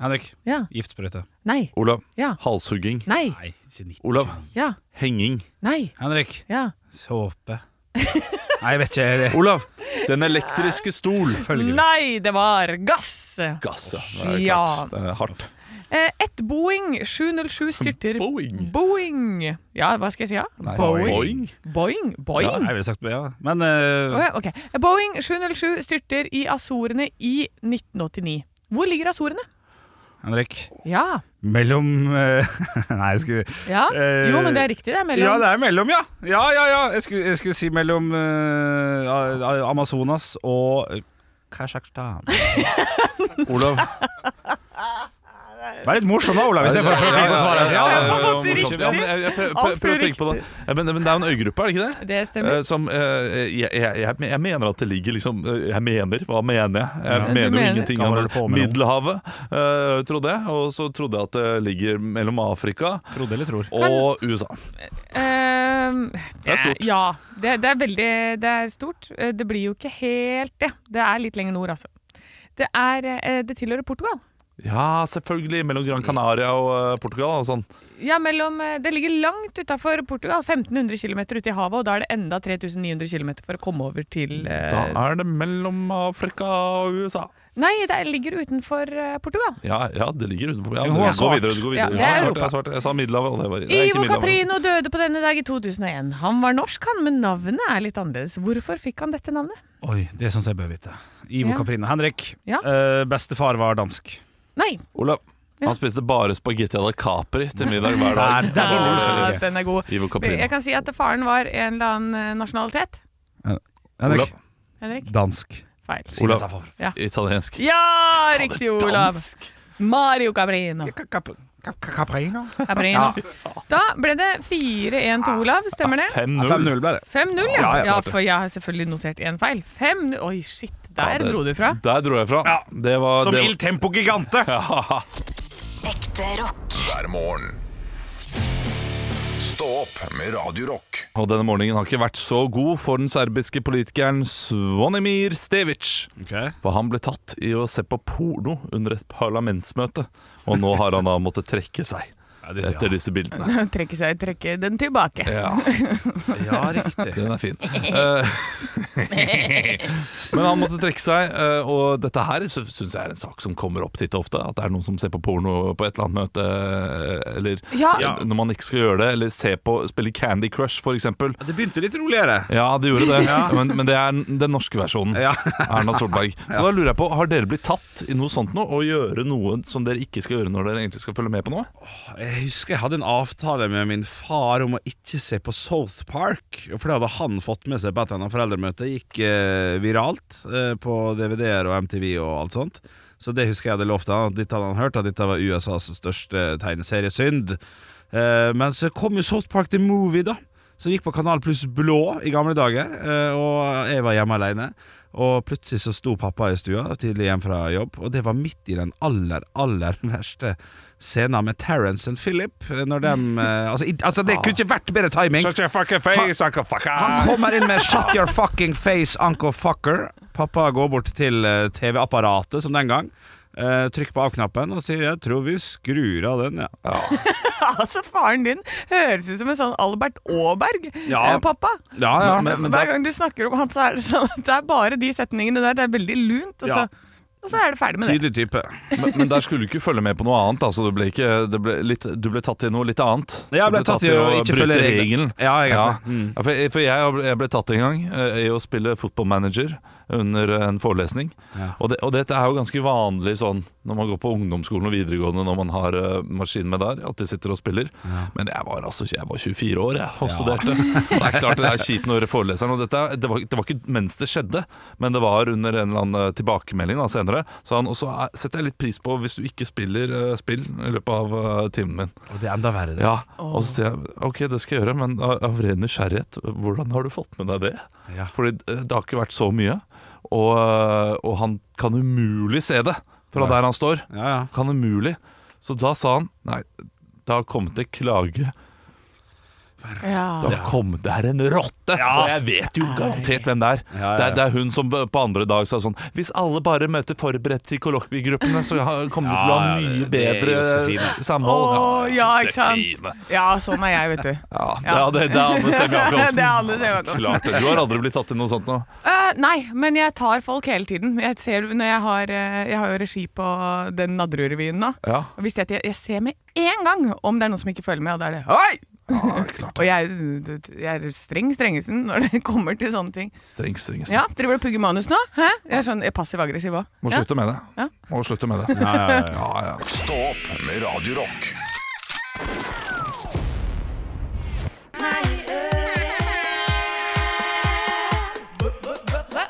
[SPEAKER 4] Henrik,
[SPEAKER 3] Ja.
[SPEAKER 4] giftsprøyte.
[SPEAKER 3] Nei.
[SPEAKER 2] Olav.
[SPEAKER 3] Ja.
[SPEAKER 2] Halshugging.
[SPEAKER 3] Nei.
[SPEAKER 4] Nei, ikke 90.
[SPEAKER 2] Olav.
[SPEAKER 3] Ja.
[SPEAKER 2] Henging.
[SPEAKER 3] Nei.
[SPEAKER 4] Henrik,
[SPEAKER 3] Ja.
[SPEAKER 4] såpe.
[SPEAKER 3] <laughs>
[SPEAKER 4] Nei, jeg vet ikke. er det-
[SPEAKER 2] Olav. Den elektriske stol.
[SPEAKER 4] Selvfølgelig.
[SPEAKER 3] Nei, det var gass!
[SPEAKER 2] Gass, ja. Det er
[SPEAKER 3] Ja.
[SPEAKER 2] klart. Det er hardt.
[SPEAKER 3] Eh, Ett Boeing 707 styrter
[SPEAKER 2] Boeing.
[SPEAKER 3] Boeing. Ja, hva skal jeg si? Ja?
[SPEAKER 2] Nei,
[SPEAKER 3] Boeing.
[SPEAKER 2] Boeing.
[SPEAKER 3] Boeing.
[SPEAKER 4] Ja,
[SPEAKER 3] Boeing.
[SPEAKER 4] jeg ville sagt ja. Men eh,
[SPEAKER 3] Åh, ja, ok. Boeing 707 styrter i Azorene i 1989. Hvor ligger Azorene?
[SPEAKER 4] Henrik,
[SPEAKER 3] Ja.
[SPEAKER 4] mellom eh, <laughs> Nei, jeg skulle
[SPEAKER 3] ja.
[SPEAKER 4] Eh,
[SPEAKER 3] Jo, men det er riktig. Det er mellom
[SPEAKER 4] Ja, det er mellom, ja. Ja, ja, ja. Jeg skulle, jeg skulle si mellom eh, A- A- Amazonas og eh, Kasjokstan.
[SPEAKER 2] Olav.
[SPEAKER 4] Vær litt morsom da, Olav, istedenfor å prøve å finne på svaret.
[SPEAKER 2] Ja, ja, ja, ja,
[SPEAKER 3] det
[SPEAKER 2] ja,
[SPEAKER 3] var
[SPEAKER 2] morsomt.
[SPEAKER 3] riktig.
[SPEAKER 2] Ja, men jeg- jeg prøver-
[SPEAKER 3] Alt
[SPEAKER 2] prøver å
[SPEAKER 3] blir
[SPEAKER 2] tenke på det. Ja, Men, men det er jo en øygruppe, er det ikke det?
[SPEAKER 3] Det stemmer.
[SPEAKER 2] Eh, Som, eh, jeg, jeg, jeg- jeg mener at det ligger liksom eh, Jeg mener, hva mener jeg? Jeg
[SPEAKER 4] Ja.
[SPEAKER 3] Du
[SPEAKER 2] mener jo
[SPEAKER 3] mener.
[SPEAKER 2] ingenting
[SPEAKER 4] Kan
[SPEAKER 2] om
[SPEAKER 4] holde på med noe.
[SPEAKER 2] Middelhavet, eh, trodde jeg. Og så trodde jeg at det ligger mellom Afrika
[SPEAKER 4] Trodde eller tror?
[SPEAKER 2] og USA.
[SPEAKER 3] Ehm,
[SPEAKER 2] Det er stort.
[SPEAKER 3] Ja. Det, det er veldig det er stort. Eh, Det blir jo ikke helt det. Det er litt lenger nord, altså. Det, er, eh, det tilhører Portugal.
[SPEAKER 2] Ja, selvfølgelig. Mellom Gran Canaria og eh, Portugal og sånn.
[SPEAKER 3] Ja, mellom, eh, det ligger langt utafor Portugal. 1500 km ute i havet, og da er det enda 3900 km for å komme over til eh,
[SPEAKER 2] Da er det mellom Afrika og USA.
[SPEAKER 3] Nei, det ligger utenfor eh, Portugal.
[SPEAKER 2] Ja, ja det ligger utenfor. Ja,
[SPEAKER 4] Jo, hun har
[SPEAKER 2] gå
[SPEAKER 4] svart.
[SPEAKER 2] videre, du går
[SPEAKER 3] Ja,
[SPEAKER 2] videre.
[SPEAKER 3] det
[SPEAKER 2] Ja,
[SPEAKER 3] er
[SPEAKER 2] svart,
[SPEAKER 3] Europa.
[SPEAKER 2] jeg, svart. jeg sa Middelhavet, og det var det er ikke
[SPEAKER 3] Ivo
[SPEAKER 2] Middelhavet.
[SPEAKER 3] Caprino døde på denne dag i 2001. Han var norsk, han, men navnet er litt annerledes. Hvorfor fikk han dette navnet?
[SPEAKER 4] Oi, det er sånn som jeg bør vite. Ivo
[SPEAKER 3] Ja.
[SPEAKER 4] Caprino. Henrik,
[SPEAKER 3] Ja.
[SPEAKER 4] eh, bestefar var dansk.
[SPEAKER 3] Nei,
[SPEAKER 2] Olav. Han spiste bare spagetti à la Capri til middag hver dag.
[SPEAKER 4] Nei, der
[SPEAKER 2] Det var
[SPEAKER 4] du skal
[SPEAKER 3] Ja,
[SPEAKER 4] ligge.
[SPEAKER 3] den er god.
[SPEAKER 2] Ivo Caprino.
[SPEAKER 3] Jeg kan si at faren var en eller annen eh, nasjonalitet.
[SPEAKER 4] Henrik,
[SPEAKER 2] Olav.
[SPEAKER 3] Henrik?
[SPEAKER 4] dansk.
[SPEAKER 3] Feil.
[SPEAKER 2] Olav. Italiensk.
[SPEAKER 3] Ja, riktig, Olav! Mario Cabrino.
[SPEAKER 4] Caprino?
[SPEAKER 3] Cabrino. Da ble det 4-1 til Olav, stemmer det?
[SPEAKER 2] 5-0.
[SPEAKER 4] 5-0 ble det.
[SPEAKER 3] 5-0, ja.
[SPEAKER 4] Ja, jeg
[SPEAKER 3] Ja,
[SPEAKER 4] klarte det.
[SPEAKER 3] for jeg har selvfølgelig notert én feil. 5-0 Oi, shit, der
[SPEAKER 2] Ja, det-
[SPEAKER 3] dro du fra.
[SPEAKER 2] Der dro jeg fra.
[SPEAKER 4] Ja.
[SPEAKER 2] Det var,
[SPEAKER 4] Som
[SPEAKER 2] det,
[SPEAKER 4] Il Tempo Gigante!
[SPEAKER 2] ja.
[SPEAKER 5] Ekte rock.
[SPEAKER 1] hver morgen. Stå opp med Radio Rock.
[SPEAKER 2] Og denne morgenen har ikke vært så god for den serbiske politikeren Zvonimir Stevic. For han ble tatt i å se på porno under et parlamentsmøte. Og nå har han da måttet trekke seg etter disse bildene.
[SPEAKER 3] <laughs> Trekke seg, trekke den
[SPEAKER 2] <laughs>
[SPEAKER 3] tilbake.
[SPEAKER 2] Ja,
[SPEAKER 4] Ja, riktig.
[SPEAKER 2] <laughs> den er fin. Eh, <laughs> Men han måtte trekke seg, eh, og dette her syns jeg er en sak som kommer opp titt og ofte. At det er noen som ser på porno på et eller annet møte, eh, eller
[SPEAKER 3] Ja.
[SPEAKER 2] eh, når man ikke skal gjøre det. Eller se på, spille Candy Crush, for eksempel.
[SPEAKER 4] Det begynte litt roligere.
[SPEAKER 2] Ja, det gjorde
[SPEAKER 4] <laughs>
[SPEAKER 2] det, men, men det er den norske versjonen.
[SPEAKER 4] Ja.
[SPEAKER 2] Erna
[SPEAKER 4] <laughs>
[SPEAKER 2] Solberg. Så da lurer jeg på, har dere blitt tatt i noe sånt nå, og gjøre noe som dere ikke skal gjøre når dere egentlig skal følge med på noe?
[SPEAKER 4] Jeg husker jeg hadde en avtale med min far om å ikke se på South Park. For det hadde han fått med seg på et eller annet foreldremøte. Gikk eh, viralt eh, på DVD-er og MTV og alt sånt. Så det husker jeg hadde lovt han. at Dette hadde han hørt, at dette var USAs største tegneseriesynd. Eh, men så kom jo South Park The Movie, da. Som gikk på Kanal Pluss Blå i gamle dager. eh, Og jeg var hjemme alene. Og plutselig så sto pappa i stua, tidlig hjem fra jobb, og det var midt i den aller, aller <laughs> verste scenen med Terence og Philip. eh, Når dem, eh, altså, i- altså, det kunne ikke vært bedre timing. Han kommer inn med 'Shut your fucking face, uncle fucker'. Pappa går bort til eh, TV-apparatet, som den gang. eh, trykker på av-knappen og sier 'jeg tror vi skrur av den', ja.
[SPEAKER 3] <laughs> Altså, faren din høres ut som en sånn Albert
[SPEAKER 4] Ja.
[SPEAKER 3] Aaberg-pappa.
[SPEAKER 4] Ja, ja, men- men
[SPEAKER 3] Hver gang du snakker om han, så er det sånn at det er bare de setningene der. Det er veldig lunt, og så,
[SPEAKER 4] Ja.
[SPEAKER 3] og så er det ferdig med det.
[SPEAKER 4] Tydelig type.
[SPEAKER 2] Men, men der skulle du ikke følge med på noe annet. Altså, du, ble ikke, det ble litt, du ble tatt i noe litt annet.
[SPEAKER 4] Jeg
[SPEAKER 2] Du
[SPEAKER 4] ble tatt i å ikke
[SPEAKER 2] bryte
[SPEAKER 4] følge regelen. Ja,
[SPEAKER 2] Ja.
[SPEAKER 4] egentlig. Mm.
[SPEAKER 2] Ja, for jeg, for jeg, ble- jeg ble tatt en gang eh, i å spille fotballmanager under en forelesning.
[SPEAKER 4] Ja.
[SPEAKER 2] Og, det, og dette er jo ganske vanlig sånn når man går på ungdomsskolen og videregående når man har eh, maskin med der, at de sitter og spiller. Men jeg var altså jeg var 24 år jeg, og studerte. Og det er klart det er kjipt når foreleseren og dette, er- det, var, det var ikke mens det skjedde, men det var under en eller annen eh, tilbakemelding da, senere. Så han også er- setter jeg litt pris på hvis du ikke spiller eh, spill i løpet av eh, timen min.
[SPEAKER 4] Og det er enda verre, det.
[SPEAKER 2] Ja, og så sier jeg OK, det skal jeg gjøre, men av av ren nysgjerrighet, hvordan har du fått med deg det?
[SPEAKER 4] Ja.
[SPEAKER 2] Fordi eh, det har ikke vært så mye, og, eh, og han kan umulig se det fra der han står.
[SPEAKER 4] Ja, ja.
[SPEAKER 2] Kan umulig. Så da sa han nei, det har kommet en klage. Det,
[SPEAKER 3] Ja.
[SPEAKER 2] har kommet, det er en rotte! Og jeg vet jo garantert hvem det er.
[SPEAKER 4] Ja, ja,
[SPEAKER 2] Det,
[SPEAKER 4] ja.
[SPEAKER 2] er det er hun som på andre dag sa sånn Hvis alle bare møter forberedt til kollokviegruppene, så ha- kommer vi til å ha
[SPEAKER 4] Ja, ja,
[SPEAKER 2] mye
[SPEAKER 4] det- det er
[SPEAKER 2] bedre
[SPEAKER 4] Josefine.
[SPEAKER 2] samhold.
[SPEAKER 3] Å,
[SPEAKER 2] jeg
[SPEAKER 3] ja,
[SPEAKER 2] synes
[SPEAKER 3] ikke
[SPEAKER 2] det er fine.
[SPEAKER 3] sant? Ja, sånn er jeg, vet du.
[SPEAKER 2] <laughs> Ja,
[SPEAKER 3] Ja.
[SPEAKER 2] ja det, det er Anne
[SPEAKER 3] <laughs>
[SPEAKER 2] Semme Jacobsen.
[SPEAKER 3] Det er Anne Sem Jacobsen.
[SPEAKER 2] Klart det. Du har aldri blitt tatt i noe sånt nå.
[SPEAKER 3] Eh, nei, men jeg tar folk hele tiden. Jeg, ser, når jeg, har, eh, jeg har jo regi på den Nadderud-revyen nå.
[SPEAKER 2] Ja.
[SPEAKER 3] Og visste jeg at jeg, jeg ser med en gang om det er noen som ikke følger med, og da er det Hei! <laughs> og jeg, jeg er streng strengesen når det <laughs> kommer til sånne ting.
[SPEAKER 2] Streng, streng, streng.
[SPEAKER 3] Ja, driver du og pugger manus nå? Hæ? Jeg er sånn jeg er passiv-aggressiv òg.
[SPEAKER 2] Må
[SPEAKER 3] Ja.
[SPEAKER 2] slutte med det.
[SPEAKER 3] Ja.
[SPEAKER 2] Må slutte med det.
[SPEAKER 4] Ja, ja, ja.
[SPEAKER 2] Ja, ja.
[SPEAKER 1] Stå opp med Radio Rock.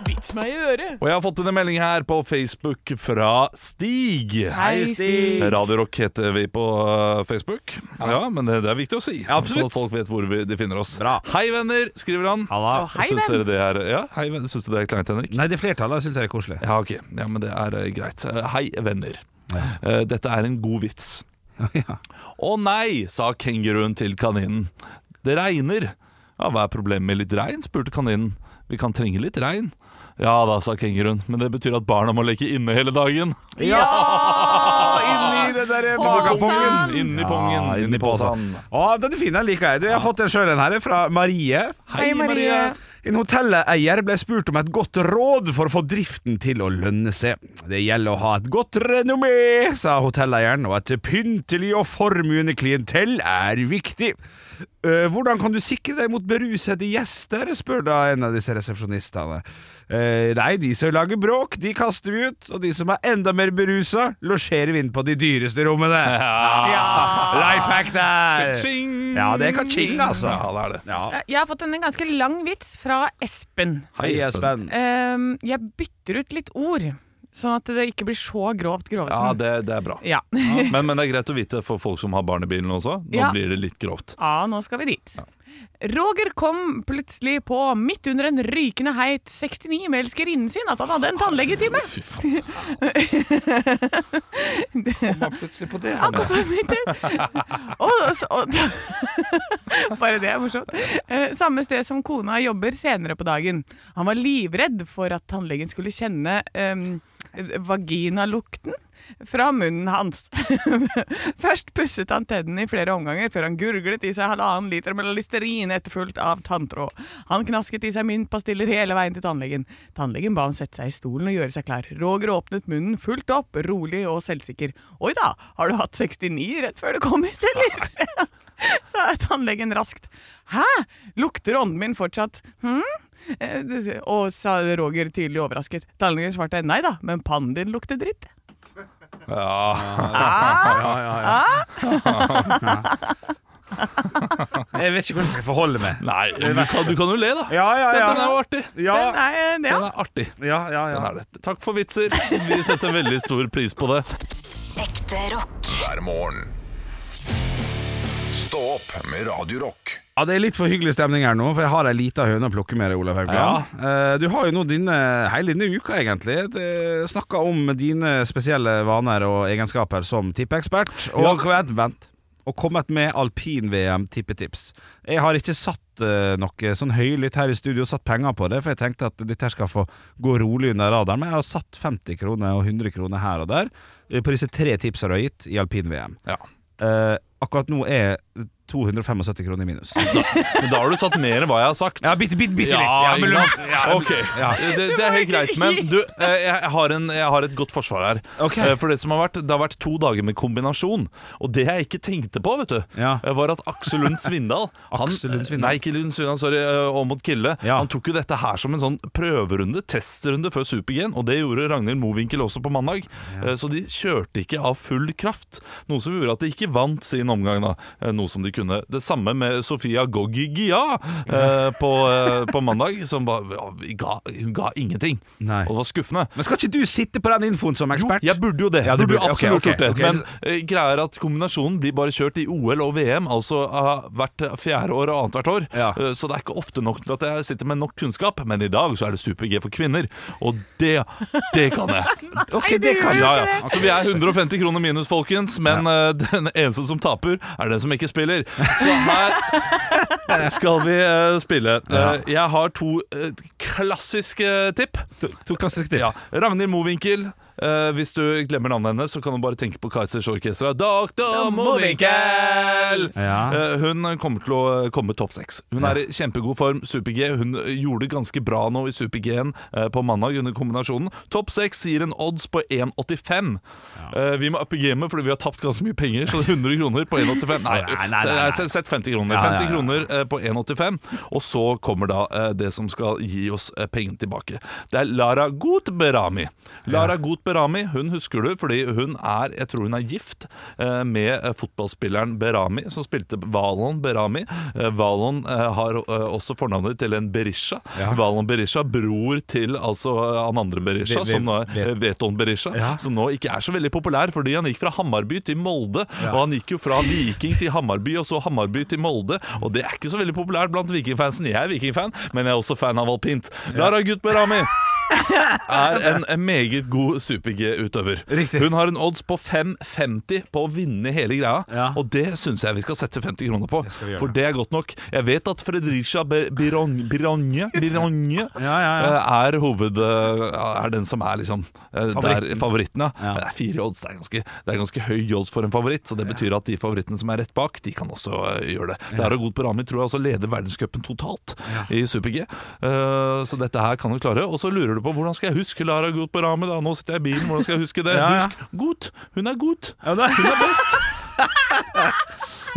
[SPEAKER 3] Vits meg i øret!
[SPEAKER 2] Og jeg har fått en melding her på Facebook fra Stig.
[SPEAKER 3] Hei, Stig.
[SPEAKER 2] Radio Rock heter vi på øh, Facebook. Ja, men det, det er viktig å si.
[SPEAKER 4] Ja, absolutt.
[SPEAKER 2] Så folk vet hvor vi, de finner oss.
[SPEAKER 4] Bra.
[SPEAKER 2] Hei, venner, skriver han.
[SPEAKER 4] Halla.
[SPEAKER 3] Å, hei,
[SPEAKER 2] Syns
[SPEAKER 3] venn.
[SPEAKER 2] dere det er Ja, hei, venn. Syns du det er kleint, Henrik?
[SPEAKER 4] Nei, det flertallet syns jeg er koselig. <laughs>
[SPEAKER 2] Ja, ok. Ja, men det er eh, greit. Eh, Hei, venner. Eh, Dette er en god vits.
[SPEAKER 4] Ja.
[SPEAKER 2] Å nei, sa kenguruen til kaninen. Det regner. Ja, hva er problemet med litt regn, spurte kaninen. Vi kan trenge litt regn. Ja da, sa kenguruen, men det betyr at barna må leke inne hele dagen.
[SPEAKER 3] Ja!
[SPEAKER 4] Inni det der eh,
[SPEAKER 3] Påsen!
[SPEAKER 2] Inni
[SPEAKER 4] Ja,
[SPEAKER 2] pungen,
[SPEAKER 4] inni posen. Å, den er fin, den liker jeg. Du, jeg har fått en sjøl, den her, fra Marie.
[SPEAKER 2] Hei,
[SPEAKER 3] Hei, Marie.
[SPEAKER 2] Marie.
[SPEAKER 4] En hotelleier ble spurt om et godt råd for å få driften til å lønne seg. Det gjelder å ha et godt renommé, sa hotelleieren, og et pyntelig og formuende klientell er viktig. «Eh, hvordan kan du sikre deg mot berusede gjester, spør da en av disse resepsjonistene. «Eh, nei, de som lager bråk, de kaster vi ut, og de som er enda mer berusa, losjerer vi inn på de dyreste rommene.
[SPEAKER 3] Ja.
[SPEAKER 4] Life hack der!
[SPEAKER 2] Ka-ching!
[SPEAKER 4] Ja, det er ka-ching, altså.
[SPEAKER 2] Ja, det er det.
[SPEAKER 4] Ja.
[SPEAKER 3] Jeg har fått en ganske lang vits fra Espen.
[SPEAKER 4] Hei, Espen.
[SPEAKER 3] Ehm, jeg bytter ut litt ord, sånn at det ikke blir så grovt
[SPEAKER 2] Ja,
[SPEAKER 3] grovesen.
[SPEAKER 2] det, det er bra.
[SPEAKER 3] Ja, <laughs>
[SPEAKER 2] Men, men det er greit å vite for folk som har barn i bilen også. Nå
[SPEAKER 3] Ja.
[SPEAKER 2] blir det litt grovt.
[SPEAKER 3] Ja, Ah, nå skal vi dit. Roger kom plutselig på, midt under en rykende heit 69 med elskerinnen sin, at han hadde en tannlegetime.
[SPEAKER 2] Fy faen.
[SPEAKER 4] Kom plutselig på det.
[SPEAKER 3] Han kom på midt
[SPEAKER 2] <laughs>
[SPEAKER 3] i- og, og, <laughs> Bare det er morsomt. Eh, Samme sted som kona jobber senere på dagen. Han var livredd for at tannlegen skulle kjenne em, vaginalukten fra munnen hans. Først pusset han tennene i flere omganger før han gurglet i seg halvannen liter med listerin etterfulgt av tanntråd. Han knasket i seg myntpastiller hele veien til tannlegen. Tannlegen ba ham sette seg i stolen og gjøre seg klar. Roger åpnet munnen fullt opp, rolig og selvsikker. Oi da, har du hatt 69 rett før du kom hit, eller? <laughs> Sa tannlegen raskt. Hæ, lukter ånden min fortsatt? Hm? Eh, det- Og sa Roger tydelig overrasket. Tannlegen svarte nei da, men pannen din lukter dritt.
[SPEAKER 2] Ja.
[SPEAKER 4] Jeg vet ikke hvordan jeg skal forholde meg.
[SPEAKER 2] Nei, du kan, du kan jo le, da.
[SPEAKER 4] Ja, ja, ja.
[SPEAKER 2] Den er jo artig.
[SPEAKER 3] Den
[SPEAKER 4] Ja,
[SPEAKER 3] er- eh, ja.
[SPEAKER 2] Den er artig.
[SPEAKER 4] ja, ja,
[SPEAKER 2] Den
[SPEAKER 4] ja.
[SPEAKER 2] er det. Takk for vitser. Vi setter veldig stor pris på det.
[SPEAKER 5] Ekte rock.
[SPEAKER 1] hver morgen. Stå opp med Radio Rock.
[SPEAKER 4] ja, det er litt for hyggelig stemning her nå, for jeg har ei lita høne å plukke med deg, Olav Haugland. Eh, Du har jo nå dine, hele denne uka, egentlig, eh, snakka om dine spesielle vaner og egenskaper som tippeekspert, og advent. Og kommet med alpin-VM-tippetips. Jeg har ikke satt eh, noe sånn høylytt her i studio, satt penger på det, for jeg tenkte at dette her skal få gå rolig under radaren. Men jeg har satt 50 kroner og 100 kroner her og der eh, på disse tre tipsene du har gitt i alpin-VM.
[SPEAKER 2] Ja.
[SPEAKER 4] Eh, akkurat nå er 275 kroner i <laughs> minus.
[SPEAKER 2] Men da har du satt mer enn hva jeg har sagt.
[SPEAKER 4] Ja, bitte, bitte, bitte litt.
[SPEAKER 2] Ja,
[SPEAKER 4] Ja,
[SPEAKER 2] ikke
[SPEAKER 4] men lov-
[SPEAKER 2] sant?
[SPEAKER 4] ja,
[SPEAKER 2] Ok,
[SPEAKER 4] ja.
[SPEAKER 2] det, det er helt greit. Men du, eh, jeg har, en, jeg har et godt forsvar her.
[SPEAKER 4] Ok.
[SPEAKER 2] Eh, For det som har vært, det har vært to dager med kombinasjon. Og det jeg ikke tenkte på, vet du,
[SPEAKER 4] Ja.
[SPEAKER 2] eh, var at Aksel Lund Svindal han-
[SPEAKER 4] Aksel Lund Svindal.
[SPEAKER 2] Nei, ikke Lund Svindal, sorry. eh, Aamodt Kille.
[SPEAKER 4] Ja.
[SPEAKER 2] Han tok jo dette her som en sånn prøverunde, testrunde før Super-G, og det gjorde Ragnhild Mowinckel også på mandag. Eh, Så de kjørte ikke av full kraft. Noe som gjorde at de ikke vant sin omgang, da. Eh, Noe som de kunne. Det samme med Sofia Goggia eh, på, eh, på mandag, som ba, ja, vi ga, hun ga ingenting.
[SPEAKER 4] Nei.
[SPEAKER 2] Og det var skuffende.
[SPEAKER 4] Men skal ikke du sitte på den infoen som ekspert?
[SPEAKER 2] Jeg burde jo det.
[SPEAKER 4] Ja, du
[SPEAKER 2] burde jo
[SPEAKER 4] burde- ok,
[SPEAKER 2] absolutt
[SPEAKER 4] ok,
[SPEAKER 2] gjort det
[SPEAKER 4] ok.
[SPEAKER 2] Men eh, greia er at kombinasjonen blir bare kjørt i OL og VM, altså eh, hvert fjerde år og annethvert år.
[SPEAKER 4] Ja.
[SPEAKER 2] Eh, så det er ikke ofte nok til at jeg sitter med nok kunnskap, men i dag så er det super-G for kvinner. Og det, det kan
[SPEAKER 4] <laughs>
[SPEAKER 2] jeg.
[SPEAKER 4] Ok, det kan
[SPEAKER 2] Ja, ja. Så
[SPEAKER 4] Altså,
[SPEAKER 2] vi er 150 kroner minus, folkens, men eh, den eneste som taper, er den som ikke spiller. Så her
[SPEAKER 4] <laughs>
[SPEAKER 2] skal vi eh, spille. Eh, jeg har to eh, klassiske tipp.
[SPEAKER 4] To, to klassiske tips.
[SPEAKER 2] Ja, Ragnhild Mowinckel. Eh, hvis du glemmer navnet hennes, så kan du bare tenke på Kaizers Orkestra. Dr. Mowinckel!
[SPEAKER 4] Ja.
[SPEAKER 2] Eh, hun kommer til å eh, komme topp seks. Hun er i kjempegod form. Super-G. Hun gjorde det ganske bra nå i Super-G-en eh, på mandag under kombinasjonen. Topp seks gir en odds på 1,85. Eh, vi må uppe gamet fordi vi har tapt ganske mye penger, så 100 kroner på 1,85 Nei,
[SPEAKER 4] Nei, nei, nei, nei.
[SPEAKER 2] se- sett 50 kroner.
[SPEAKER 4] Ja, ja, ja.
[SPEAKER 2] 50 kroner eh, på 1,85. Og så kommer da eh, det som skal gi oss eh, pengene tilbake. Det er Lara Gutberami. Lara Gutberami, hun husker du fordi hun er Jeg tror hun er gift eh, med eh, fotballspilleren Berami, som spilte Valon Berami. Eh, Valon eh, har eh, også fornavnet til en Berisha.
[SPEAKER 4] Ja.
[SPEAKER 2] Valon Berisha, bror til altså eh, han andre Berisha,
[SPEAKER 4] Ve- ve-
[SPEAKER 2] som nå er
[SPEAKER 4] ve-
[SPEAKER 2] eh, Veton Berisha,
[SPEAKER 4] Ja.
[SPEAKER 2] som nå ikke er så veldig populær, fordi han gikk fra Hammarby til Molde, og han gikk jo fra Viking til Hammarby, og så Hammarby til Molde, og det er
[SPEAKER 4] <laughs>
[SPEAKER 2] ikke så veldig populært blant vikingfansen. Jeg er vikingfan, men jeg er også fan av alpint. Lara Gutberami! er en, en meget god super-G-utøver.
[SPEAKER 4] Riktig.
[SPEAKER 2] Hun har en odds på 5,50 på å vinne hele greia,
[SPEAKER 4] Ja.
[SPEAKER 2] og det syns jeg vi skal sette 50 kroner på.
[SPEAKER 4] skal vi gjøre.
[SPEAKER 2] For det er godt nok. Jeg vet at Fredricia Be- Birong- Bironge Bironge
[SPEAKER 4] Ja, ja, ja.
[SPEAKER 2] eh, er hoved... eh, Er den som er liksom eh,
[SPEAKER 4] Favoritten.
[SPEAKER 2] Der, favoritten ja.
[SPEAKER 4] Ja.
[SPEAKER 2] Det er fire odds. Det er, ganske, det er ganske høy odds for en favoritt, så det betyr at de favorittene som er rett bak, de kan også eh, gjøre det. Dara Godporami tror jeg også leder verdenscupen totalt i super-G, Eh, så dette her kan du klare. Og så lurer du på hvordan skal jeg huske Lara Godporami, da? Nå sitter jeg i bilen, hvordan skal jeg huske det?
[SPEAKER 4] <laughs> Ja, ja.
[SPEAKER 2] Husk Gut! Hun er Gut!
[SPEAKER 4] <laughs> Ja, det er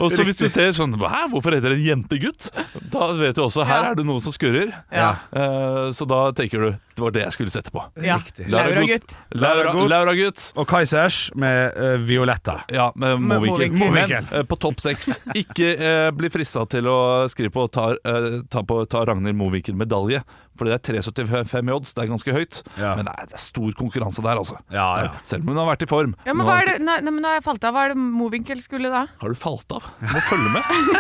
[SPEAKER 2] Og så hvis du ser sånn Hæ, hvorfor heter det en jentegutt? Da vet du også her er det noe som skurrer.
[SPEAKER 3] Ja.
[SPEAKER 2] Eh, så da tenker du det var det jeg skulle sette på.
[SPEAKER 3] Ja.
[SPEAKER 4] Riktig.
[SPEAKER 3] Laura-gutt.
[SPEAKER 2] Laura,
[SPEAKER 4] Laura Gut.
[SPEAKER 2] Laura Gutt.
[SPEAKER 4] Og Kaizers med eh, Violetta.
[SPEAKER 2] Ja, men må
[SPEAKER 3] Men
[SPEAKER 2] vi
[SPEAKER 3] må
[SPEAKER 2] ikke.
[SPEAKER 3] vi ikke.
[SPEAKER 4] Må vi
[SPEAKER 2] Men
[SPEAKER 4] ikke.
[SPEAKER 2] eh, på topp
[SPEAKER 3] <laughs>
[SPEAKER 2] seks. Ikke eh, bli frista til å skrive på ta, eh, ta, på, ta Ragnhild Mowinckel medalje, Fordi det er 3,75 i odds. Det er ganske høyt.
[SPEAKER 4] Ja.
[SPEAKER 2] Men det er, det er stor konkurranse der, altså.
[SPEAKER 4] Ja, ja.
[SPEAKER 2] Selv om hun har vært i form.
[SPEAKER 3] Ja, men
[SPEAKER 2] Nå
[SPEAKER 3] hva er det, nei, nei, men nå har jeg falt av. Hva er det Mowinckel skulle da?
[SPEAKER 2] Har du falt av? Du må følge med.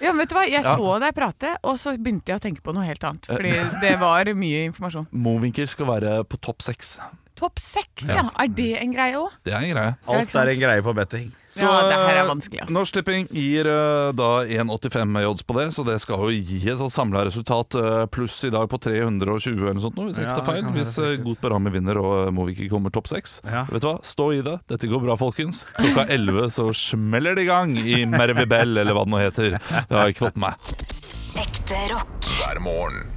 [SPEAKER 3] Ja, men vet du hva? Jeg så deg prate, og så begynte jeg å tenke på noe helt annet. Fordi det var mye informasjon.
[SPEAKER 2] Mowinckel skal være på topp seks.
[SPEAKER 3] <laughs> Topp seks, ja. Er det en greie òg?
[SPEAKER 2] Det er en greie.
[SPEAKER 3] Ja, ikke
[SPEAKER 4] <laughs> Alt
[SPEAKER 3] sant?
[SPEAKER 4] er en greie på betting.
[SPEAKER 2] Så,
[SPEAKER 3] Ja, det her er
[SPEAKER 2] eh,
[SPEAKER 3] vanskelig, ass.
[SPEAKER 2] Norsk Tipping gir eh, da 1,85 i odds på det, så det skal jo gi et sånt samla resultat eh, pluss i dag på 320 eller noe sånt, nå, hvis jeg
[SPEAKER 4] Ja,
[SPEAKER 2] ikke tar
[SPEAKER 4] det
[SPEAKER 2] feil.
[SPEAKER 4] kan være
[SPEAKER 2] Hvis eh,
[SPEAKER 4] riktig.
[SPEAKER 2] Godt Barami vinner og eh, Mowinckel kommer topp seks.
[SPEAKER 4] Ja.
[SPEAKER 2] Vet du hva, stå i det. Dette går bra, folkens. Klokka 11 så smeller det i gang i Mervibel, eller hva det nå heter. Det har jeg ikke fått med meg.
[SPEAKER 5] Ekte rock.
[SPEAKER 1] hver morgen.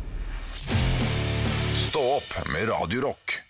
[SPEAKER 1] Stå opp med Radio Rock.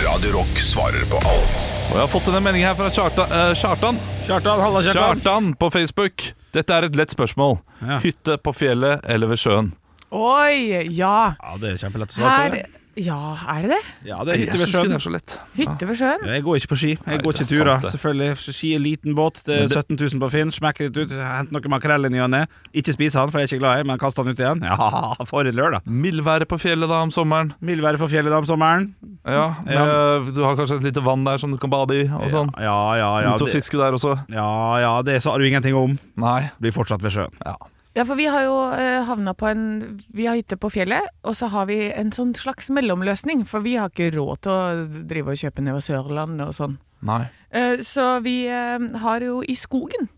[SPEAKER 1] Radio Rock svarer på alt
[SPEAKER 2] Og jeg har fått en melding her fra Kjartan. eh, Kjartan.
[SPEAKER 4] Kjartan, halla, Kjartan.
[SPEAKER 2] Kjartan på Facebook. Dette er et lett spørsmål.
[SPEAKER 4] Ja.
[SPEAKER 2] Hytte på fjellet eller ved sjøen?
[SPEAKER 3] Oi, ja.
[SPEAKER 4] Ja, det er kjempelett å svare
[SPEAKER 3] Her
[SPEAKER 4] på. det.
[SPEAKER 3] Ja, er det det?
[SPEAKER 4] Ja, det er hytte ved sjøen.
[SPEAKER 2] det er så lett.
[SPEAKER 3] Hytte ved sjøen?
[SPEAKER 4] Jeg går ikke på ski. Jeg går
[SPEAKER 2] det er
[SPEAKER 4] ikke turer.
[SPEAKER 2] sant det.
[SPEAKER 4] Selvfølgelig, Ski er liten båt. Det
[SPEAKER 2] Men
[SPEAKER 4] er
[SPEAKER 2] det-
[SPEAKER 4] 17 000 på Finn. Smekk litt ut. Hent noe makrell i ny og ne. Ikke spis han, for jeg er ikke glad i men kast han ut igjen. <laughs> Ja, for en lørdag.
[SPEAKER 2] Mildværet på fjellet da om sommeren.
[SPEAKER 4] Mildværet på fjellet da om sommeren.
[SPEAKER 2] Ja, med, Du har kanskje et lite vann der som du kan bade i. og sånn
[SPEAKER 4] Ja, ja, ja.
[SPEAKER 2] Ut og
[SPEAKER 4] Det,
[SPEAKER 2] fiske der også.
[SPEAKER 4] ja, ja, det sa du ingenting om.
[SPEAKER 2] Nei.
[SPEAKER 4] Blir fortsatt ved sjøen.
[SPEAKER 2] Ja.
[SPEAKER 3] Ja, for vi har jo eh, havna på en Vi har hytte på fjellet, og så har vi en sånn slags mellomløsning, for vi har ikke råd til å drive og kjøpe nede ved Sørlandet og sånn.
[SPEAKER 2] Nei.
[SPEAKER 3] Eh, så vi eh, har jo i skogen,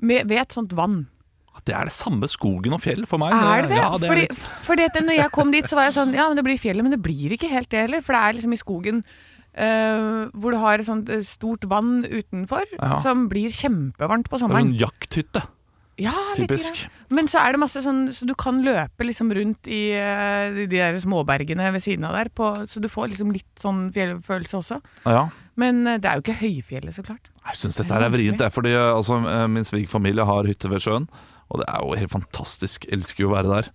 [SPEAKER 3] med, ved et sånt vann.
[SPEAKER 2] Det er det samme skogen og fjell for meg.
[SPEAKER 3] Er det det?
[SPEAKER 2] Ja, det er
[SPEAKER 3] Fordi,
[SPEAKER 2] litt-
[SPEAKER 3] fordi at når jeg kom dit, så var jeg sånn Ja, men det blir fjellet, men det blir ikke helt det heller. For det er liksom i skogen eh, hvor du har et sånt eh, stort vann utenfor
[SPEAKER 2] Ja.
[SPEAKER 3] som blir kjempevarmt på
[SPEAKER 2] det er
[SPEAKER 3] sommeren.
[SPEAKER 2] en jakthytte.
[SPEAKER 3] Ja, litt
[SPEAKER 2] Typisk.
[SPEAKER 3] grann. Men så er det masse sånn Så du kan løpe liksom rundt i eh, de de der småbergene ved siden av der, på, så du får liksom litt sånn fjellfølelse også.
[SPEAKER 2] Ja.
[SPEAKER 3] Men eh, det er jo ikke høyfjellet, så klart.
[SPEAKER 2] Jeg syns dette her er vrient, jeg, fordi eh, altså, eh, min svigerfamilie har hytte ved sjøen. Og det er jo helt fantastisk. Elsker jo å være der.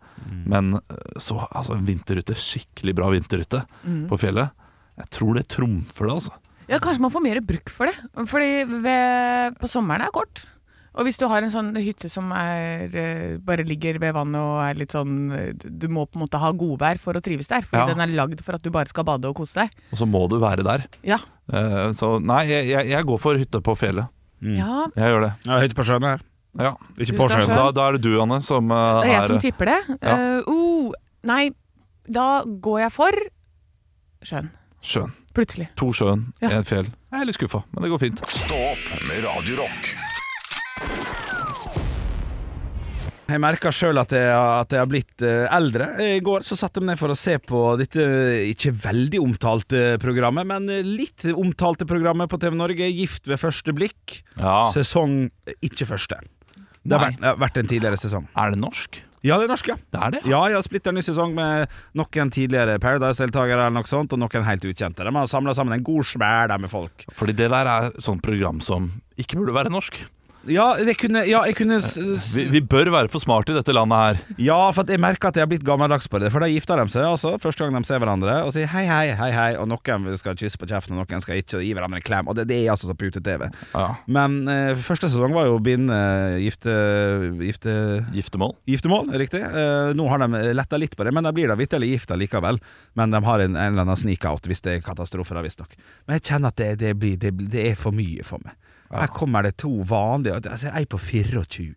[SPEAKER 2] Men eh, så altså, en vinterhytte, skikkelig bra vinterhytte
[SPEAKER 3] Mm.
[SPEAKER 2] på fjellet. Jeg tror det trumfer det, altså.
[SPEAKER 3] Ja, kanskje man får mer bruk for det. Fordi ved, på sommeren er kort. Og hvis du har en sånn hytte som er, eh, bare ligger ved vannet og er litt sånn eh, Du må på en måte ha godvær for å trives der, for
[SPEAKER 2] Ja.
[SPEAKER 3] den er lagd for at du bare skal bade og kose deg.
[SPEAKER 2] Og så må du være der.
[SPEAKER 3] Ja.
[SPEAKER 2] Eh, Så nei, jeg, jeg, jeg går for hytte på fjellet.
[SPEAKER 4] Mm.
[SPEAKER 3] ja.
[SPEAKER 2] Jeg gjør det.
[SPEAKER 4] Ja, hytte på sjøen her.
[SPEAKER 2] Ja.
[SPEAKER 4] Ikke
[SPEAKER 3] Du
[SPEAKER 4] på
[SPEAKER 3] skal
[SPEAKER 4] sjøen.
[SPEAKER 3] sjøen.
[SPEAKER 2] Da, da er det du, Anne, som eh,
[SPEAKER 3] Det er jeg
[SPEAKER 2] er
[SPEAKER 3] som tipper det.
[SPEAKER 2] Ja.
[SPEAKER 3] Eh, oh, nei, da går jeg for sjøen.
[SPEAKER 2] sjøen.
[SPEAKER 3] Plutselig.
[SPEAKER 2] To sjøen,
[SPEAKER 3] Ja.
[SPEAKER 2] en fjell. Jeg er litt skuffa, men det går fint.
[SPEAKER 1] Stå opp med Radio Rock
[SPEAKER 4] Jeg merker sjøl at, jeg- at jeg har blitt eh, eldre. I går så satte jeg meg ned for å se på dette eh, ikke veldig omtalte programmet, men eh, litt omtalte programmet på TV Norge, 'Gift ved første blikk'.
[SPEAKER 2] Ja.
[SPEAKER 4] Sesong eh, ikke første. Det har
[SPEAKER 2] Ah. Nei.
[SPEAKER 4] vært, det har vært en tidligere sesong.
[SPEAKER 2] Er det norsk?
[SPEAKER 4] Ja, det er norsk, ja.
[SPEAKER 2] Det er det, ja.
[SPEAKER 4] Ja, jeg har splitter ny sesong med noen tidligere Paradise-deltakere eller noe sånt, og noen helt ukjente. De har samla sammen en god smæl der med folk.
[SPEAKER 2] Fordi det der er sånn program som ikke burde være norsk.
[SPEAKER 4] Ja, det kunne, ja, jeg kunne s- s-
[SPEAKER 2] Vi, vi bør være for smarte i dette landet her.
[SPEAKER 4] Ja, for at jeg merker at jeg har blitt gammeldags på det. For da gifter de seg, altså. Første gang de ser hverandre og sier hei, hei, hei, hei. Og noen skal kysse på kjeften, og noen skal ikke og gi hverandre en klem. Og det, det er altså så pute-TV.
[SPEAKER 2] Ja.
[SPEAKER 4] Men eh, første sesong var jo binde gifte, gifte
[SPEAKER 2] Giftermål.
[SPEAKER 4] Giftermål, riktig. Eh, nå har de letta litt på det, men de blir da vitterlig gifta likevel. Men de har en, en eller annen sneak-out hvis det er katastrofe, da, visstnok. Men jeg kjenner at det, det, blir, det, det er for mye for meg. Her kommer det to vanlige altså, Ei på 24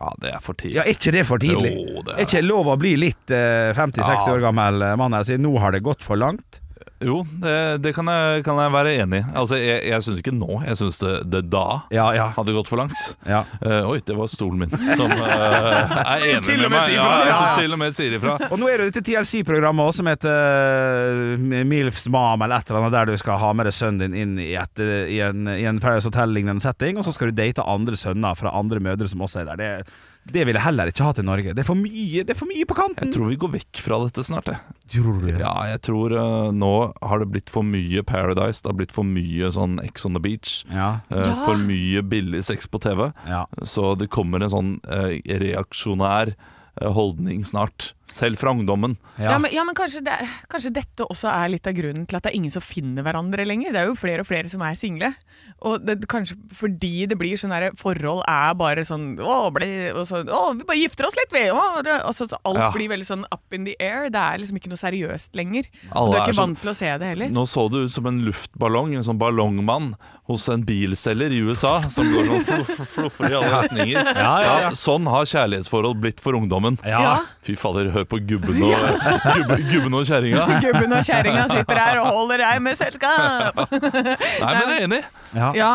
[SPEAKER 2] Ja, det er for tidlig.
[SPEAKER 4] Ja, er ikke det for tidlig?
[SPEAKER 2] Jo, det er
[SPEAKER 4] er ikke lov å bli litt eh, 50-60 år gammel eh, mann her og si 'nå har det gått for langt'?
[SPEAKER 2] Jo, det, det kan, jeg, kan jeg være enig i. Altså, jeg, jeg syns ikke nå, jeg syns det, det da
[SPEAKER 4] Ja, ja.
[SPEAKER 2] hadde gått for langt.
[SPEAKER 4] ja.
[SPEAKER 2] Eh, oi, det var stolen min som eh, er enig
[SPEAKER 4] Til
[SPEAKER 2] med
[SPEAKER 4] og med
[SPEAKER 2] meg.
[SPEAKER 4] sier
[SPEAKER 2] Ja,
[SPEAKER 4] fra.
[SPEAKER 2] ja,
[SPEAKER 4] Ja, ja.
[SPEAKER 2] Til og med sier ifra.
[SPEAKER 4] Og nå er det dette TLC-programmet også, som heter eh, Milfs mam eller et eller annet, der du skal ha med deg sønnen din inn i, et, eh, i, en, i en Paradise Hotel-lignende setting, og så skal du date andre sønner fra andre mødre som også er der. Det, det vil jeg heller ikke ha til Norge. Det er for mye, det er for mye på
[SPEAKER 2] Jeg
[SPEAKER 4] kanten!
[SPEAKER 2] tror vi går vekk fra dette snart. Jeg.
[SPEAKER 4] Tror du
[SPEAKER 2] Ja, jeg tror eh, nå har det blitt for mye Paradise. Det har blitt for mye sånn Ex on the beach.
[SPEAKER 4] Ja.
[SPEAKER 2] eh,
[SPEAKER 3] Ja.
[SPEAKER 2] For mye billig sex på TV.
[SPEAKER 4] ja.
[SPEAKER 2] Så det kommer en sånn eh, reaksjonær eh, holdning snart. Selv fra ungdommen.
[SPEAKER 3] Ja, men, ja, men kanskje, det, kanskje dette også er litt av grunnen til at det er ingen som finner hverandre lenger. Det er jo flere og flere som er single. Og det, kanskje fordi det blir sånn derre forhold er bare sånn Å, ble, og så, å vi bare gifter oss litt, vi! Å, det, altså, så alt
[SPEAKER 2] Ja.
[SPEAKER 3] blir veldig sånn up in the air. Det er liksom ikke noe seriøst lenger.
[SPEAKER 2] Alle
[SPEAKER 3] Og du er
[SPEAKER 2] er
[SPEAKER 3] ikke
[SPEAKER 2] sånn-
[SPEAKER 3] vant til å se det heller.
[SPEAKER 2] Nå så det ut som en luftballong, en sånn ballongmann hos en bilselger i USA, som går sånn fluff, fluff, fluffer i alle retninger.
[SPEAKER 4] Ja, ja, ja.
[SPEAKER 2] sånn har kjærlighetsforhold blitt for ungdommen.
[SPEAKER 3] Ja.
[SPEAKER 2] Fy fader, hør på gubben og, gubbe, <laughs> gubben og
[SPEAKER 3] <laughs>
[SPEAKER 2] kjerringa.
[SPEAKER 3] <laughs> Gubben og kjerringa sitter her og holder deg med
[SPEAKER 2] <laughs>
[SPEAKER 3] selskap!
[SPEAKER 2] Nei, men jeg er enig.
[SPEAKER 4] Ja.
[SPEAKER 3] Ja,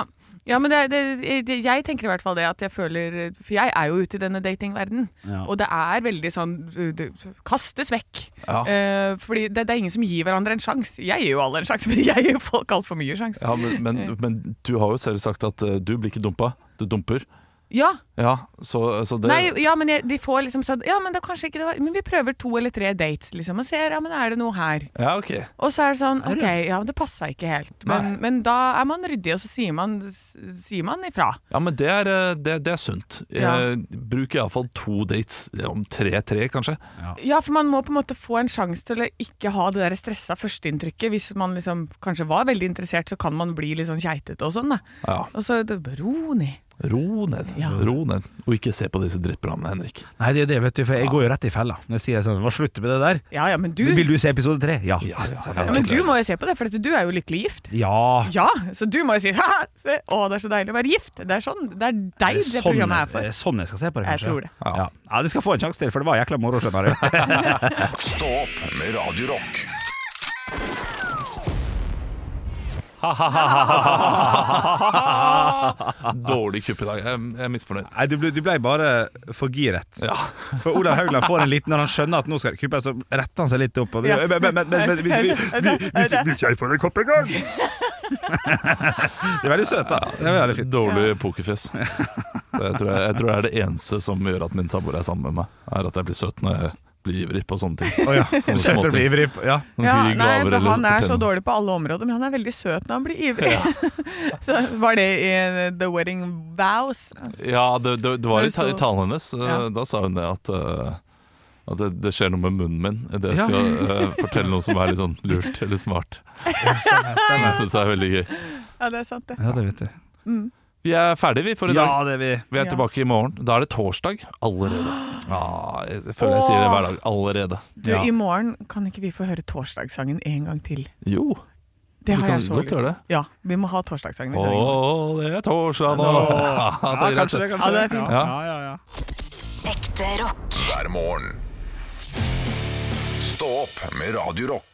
[SPEAKER 3] ja men det, det, det, jeg tenker i hvert fall det at jeg føler For jeg er jo ute i denne datingverdenen.
[SPEAKER 4] Ja.
[SPEAKER 3] Og det er veldig sånn du- du- Kastes vekk.
[SPEAKER 2] Ja.
[SPEAKER 3] Eh, fordi det, det er ingen som gir hverandre en sjanse. Jeg gir jo alle en sjanse, <laughs> men jeg gir folk altfor mye sjanse.
[SPEAKER 2] Ja, men, men, men du har jo selv sagt at eh, du blir ikke dumpa, du dumper.
[SPEAKER 3] Ja.
[SPEAKER 2] Ja, så, så det
[SPEAKER 3] Nei, ja, men jeg, de får liksom sånn Ja, men det er kanskje ikke det var Men vi prøver to eller tre dates, liksom, og ser ja, men er det noe her.
[SPEAKER 2] Ja, ok.
[SPEAKER 3] Og så er det sånn OK, ja, men det passa ikke helt. Men, men da er man ryddig, og så sier man, sier man ifra.
[SPEAKER 2] Ja, men det er, eh, det, det er sunt.
[SPEAKER 3] Ja.
[SPEAKER 2] Eh, Bruk iallfall to dates. Om tre-tre, kanskje.
[SPEAKER 3] Ja, for man må på en måte få en sjanse til å ikke ha det der stressa førsteinntrykket. Hvis man liksom kanskje var veldig interessert, så kan man bli litt sånn keitete og sånn, da.
[SPEAKER 2] Ja.
[SPEAKER 3] Og så det, ro ned.
[SPEAKER 2] Ro ned.
[SPEAKER 3] Ja.
[SPEAKER 2] Ro ned. Og ikke se på disse drittprogrammene, Henrik.
[SPEAKER 4] Nei, det er det, vet du, for jeg går jo rett i fella når jeg sier sånn Hva slutter med det der?
[SPEAKER 3] Ja ja, men du,
[SPEAKER 4] Vil du se episode tre? Ja.
[SPEAKER 2] Ja, ja, ja.
[SPEAKER 3] ja, men du må jo se på det, for at du er jo lykkelig gift.
[SPEAKER 4] Ja.
[SPEAKER 3] Ja, så du må jo si <laughs> haha, se, å det er så deilig å være gift. Det er sånn, det er
[SPEAKER 4] Er
[SPEAKER 3] deg
[SPEAKER 4] det
[SPEAKER 3] det,
[SPEAKER 4] sånn,
[SPEAKER 3] programmet er
[SPEAKER 4] er
[SPEAKER 3] for.
[SPEAKER 4] det sånn jeg skal se på det,
[SPEAKER 3] Jeg
[SPEAKER 4] kanskje?
[SPEAKER 3] tror det.
[SPEAKER 4] Ja. ja, Du skal få en sjanse til, for det var jækla moro, skjønner
[SPEAKER 2] <laughs>
[SPEAKER 4] du.
[SPEAKER 1] Stå opp med Radio Rock.
[SPEAKER 2] Dårlig kupp i dag. Jeg, jeg er misfornøyd.
[SPEAKER 4] Nei, du ble, du ble bare for giret. For Olav Haugland får en liten Når han skjønner at nå skal det kuppes, så retter han seg litt opp. Og,
[SPEAKER 3] Ja.
[SPEAKER 4] Men, men, men, men,
[SPEAKER 3] <laughs>
[SPEAKER 4] men hvis, vi- hvis, hvis jeg får en kopp en gang De er veldig søte, da. Det er veldig fint.
[SPEAKER 2] Dårlig
[SPEAKER 4] <laughs>
[SPEAKER 2] pokerfjes. Det tror jeg, jeg tror det er det eneste som gjør at min samboer er sammen med meg, er at jeg blir søt når jeg blir ivrig på sånne ting.
[SPEAKER 3] <laughs>
[SPEAKER 4] Å ja.
[SPEAKER 2] Sånne
[SPEAKER 4] Søt å
[SPEAKER 2] småting.
[SPEAKER 4] bli ivrig på. Ja.
[SPEAKER 2] Når
[SPEAKER 3] Ja,
[SPEAKER 2] han gir
[SPEAKER 3] nei,
[SPEAKER 2] gaver
[SPEAKER 3] for
[SPEAKER 2] eller
[SPEAKER 3] han er så
[SPEAKER 2] fortjener.
[SPEAKER 3] dårlig på alle områder, men han er veldig søt når han blir ivrig. <laughs> så var det i eh, The Wedding Vows.
[SPEAKER 2] Ja, det, det, det var
[SPEAKER 3] Når
[SPEAKER 2] i
[SPEAKER 3] det
[SPEAKER 2] ta- i
[SPEAKER 3] sto-
[SPEAKER 2] talen hennes. eh,
[SPEAKER 3] Ja.
[SPEAKER 2] Da sa hun det at eh, at det, det skjer noe med munnen min idet jeg
[SPEAKER 4] Ja.
[SPEAKER 2] skal eh, fortelle noe som er litt sånn lurt
[SPEAKER 4] <laughs>
[SPEAKER 2] eller smart. Det syns <laughs> jeg er veldig gøy.
[SPEAKER 3] Ja, det er sant, det.
[SPEAKER 4] ja, det vet jeg.
[SPEAKER 2] Vi er ferdige, vi, for i
[SPEAKER 4] Ja,
[SPEAKER 2] dag.
[SPEAKER 4] det er vi.
[SPEAKER 2] Vi er
[SPEAKER 3] Ja.
[SPEAKER 2] tilbake i morgen. Da er det torsdag allerede.
[SPEAKER 3] <gasps>
[SPEAKER 2] Ja, jeg jeg føler jeg sier det hver dag. Allerede.
[SPEAKER 3] Du,
[SPEAKER 4] Ja.
[SPEAKER 3] i morgen kan ikke vi få høre torsdagssangen en gang til?
[SPEAKER 2] Jo.
[SPEAKER 3] Det
[SPEAKER 2] Vi
[SPEAKER 3] har
[SPEAKER 2] kan
[SPEAKER 3] jeg så
[SPEAKER 2] godt
[SPEAKER 3] lyst
[SPEAKER 2] gjøre
[SPEAKER 3] til.
[SPEAKER 2] det.
[SPEAKER 3] Ja, vi må ha torsdagssangen i
[SPEAKER 2] Å,
[SPEAKER 3] sendingen.
[SPEAKER 2] det er torsdag nå! <laughs> Ja,
[SPEAKER 4] Ja, kanskje det,
[SPEAKER 3] Ja,
[SPEAKER 4] kanskje
[SPEAKER 3] det er fint.
[SPEAKER 4] Ja, ja, ja.
[SPEAKER 5] Ekte rock.
[SPEAKER 1] hver morgen. Stå opp med Radio Rock.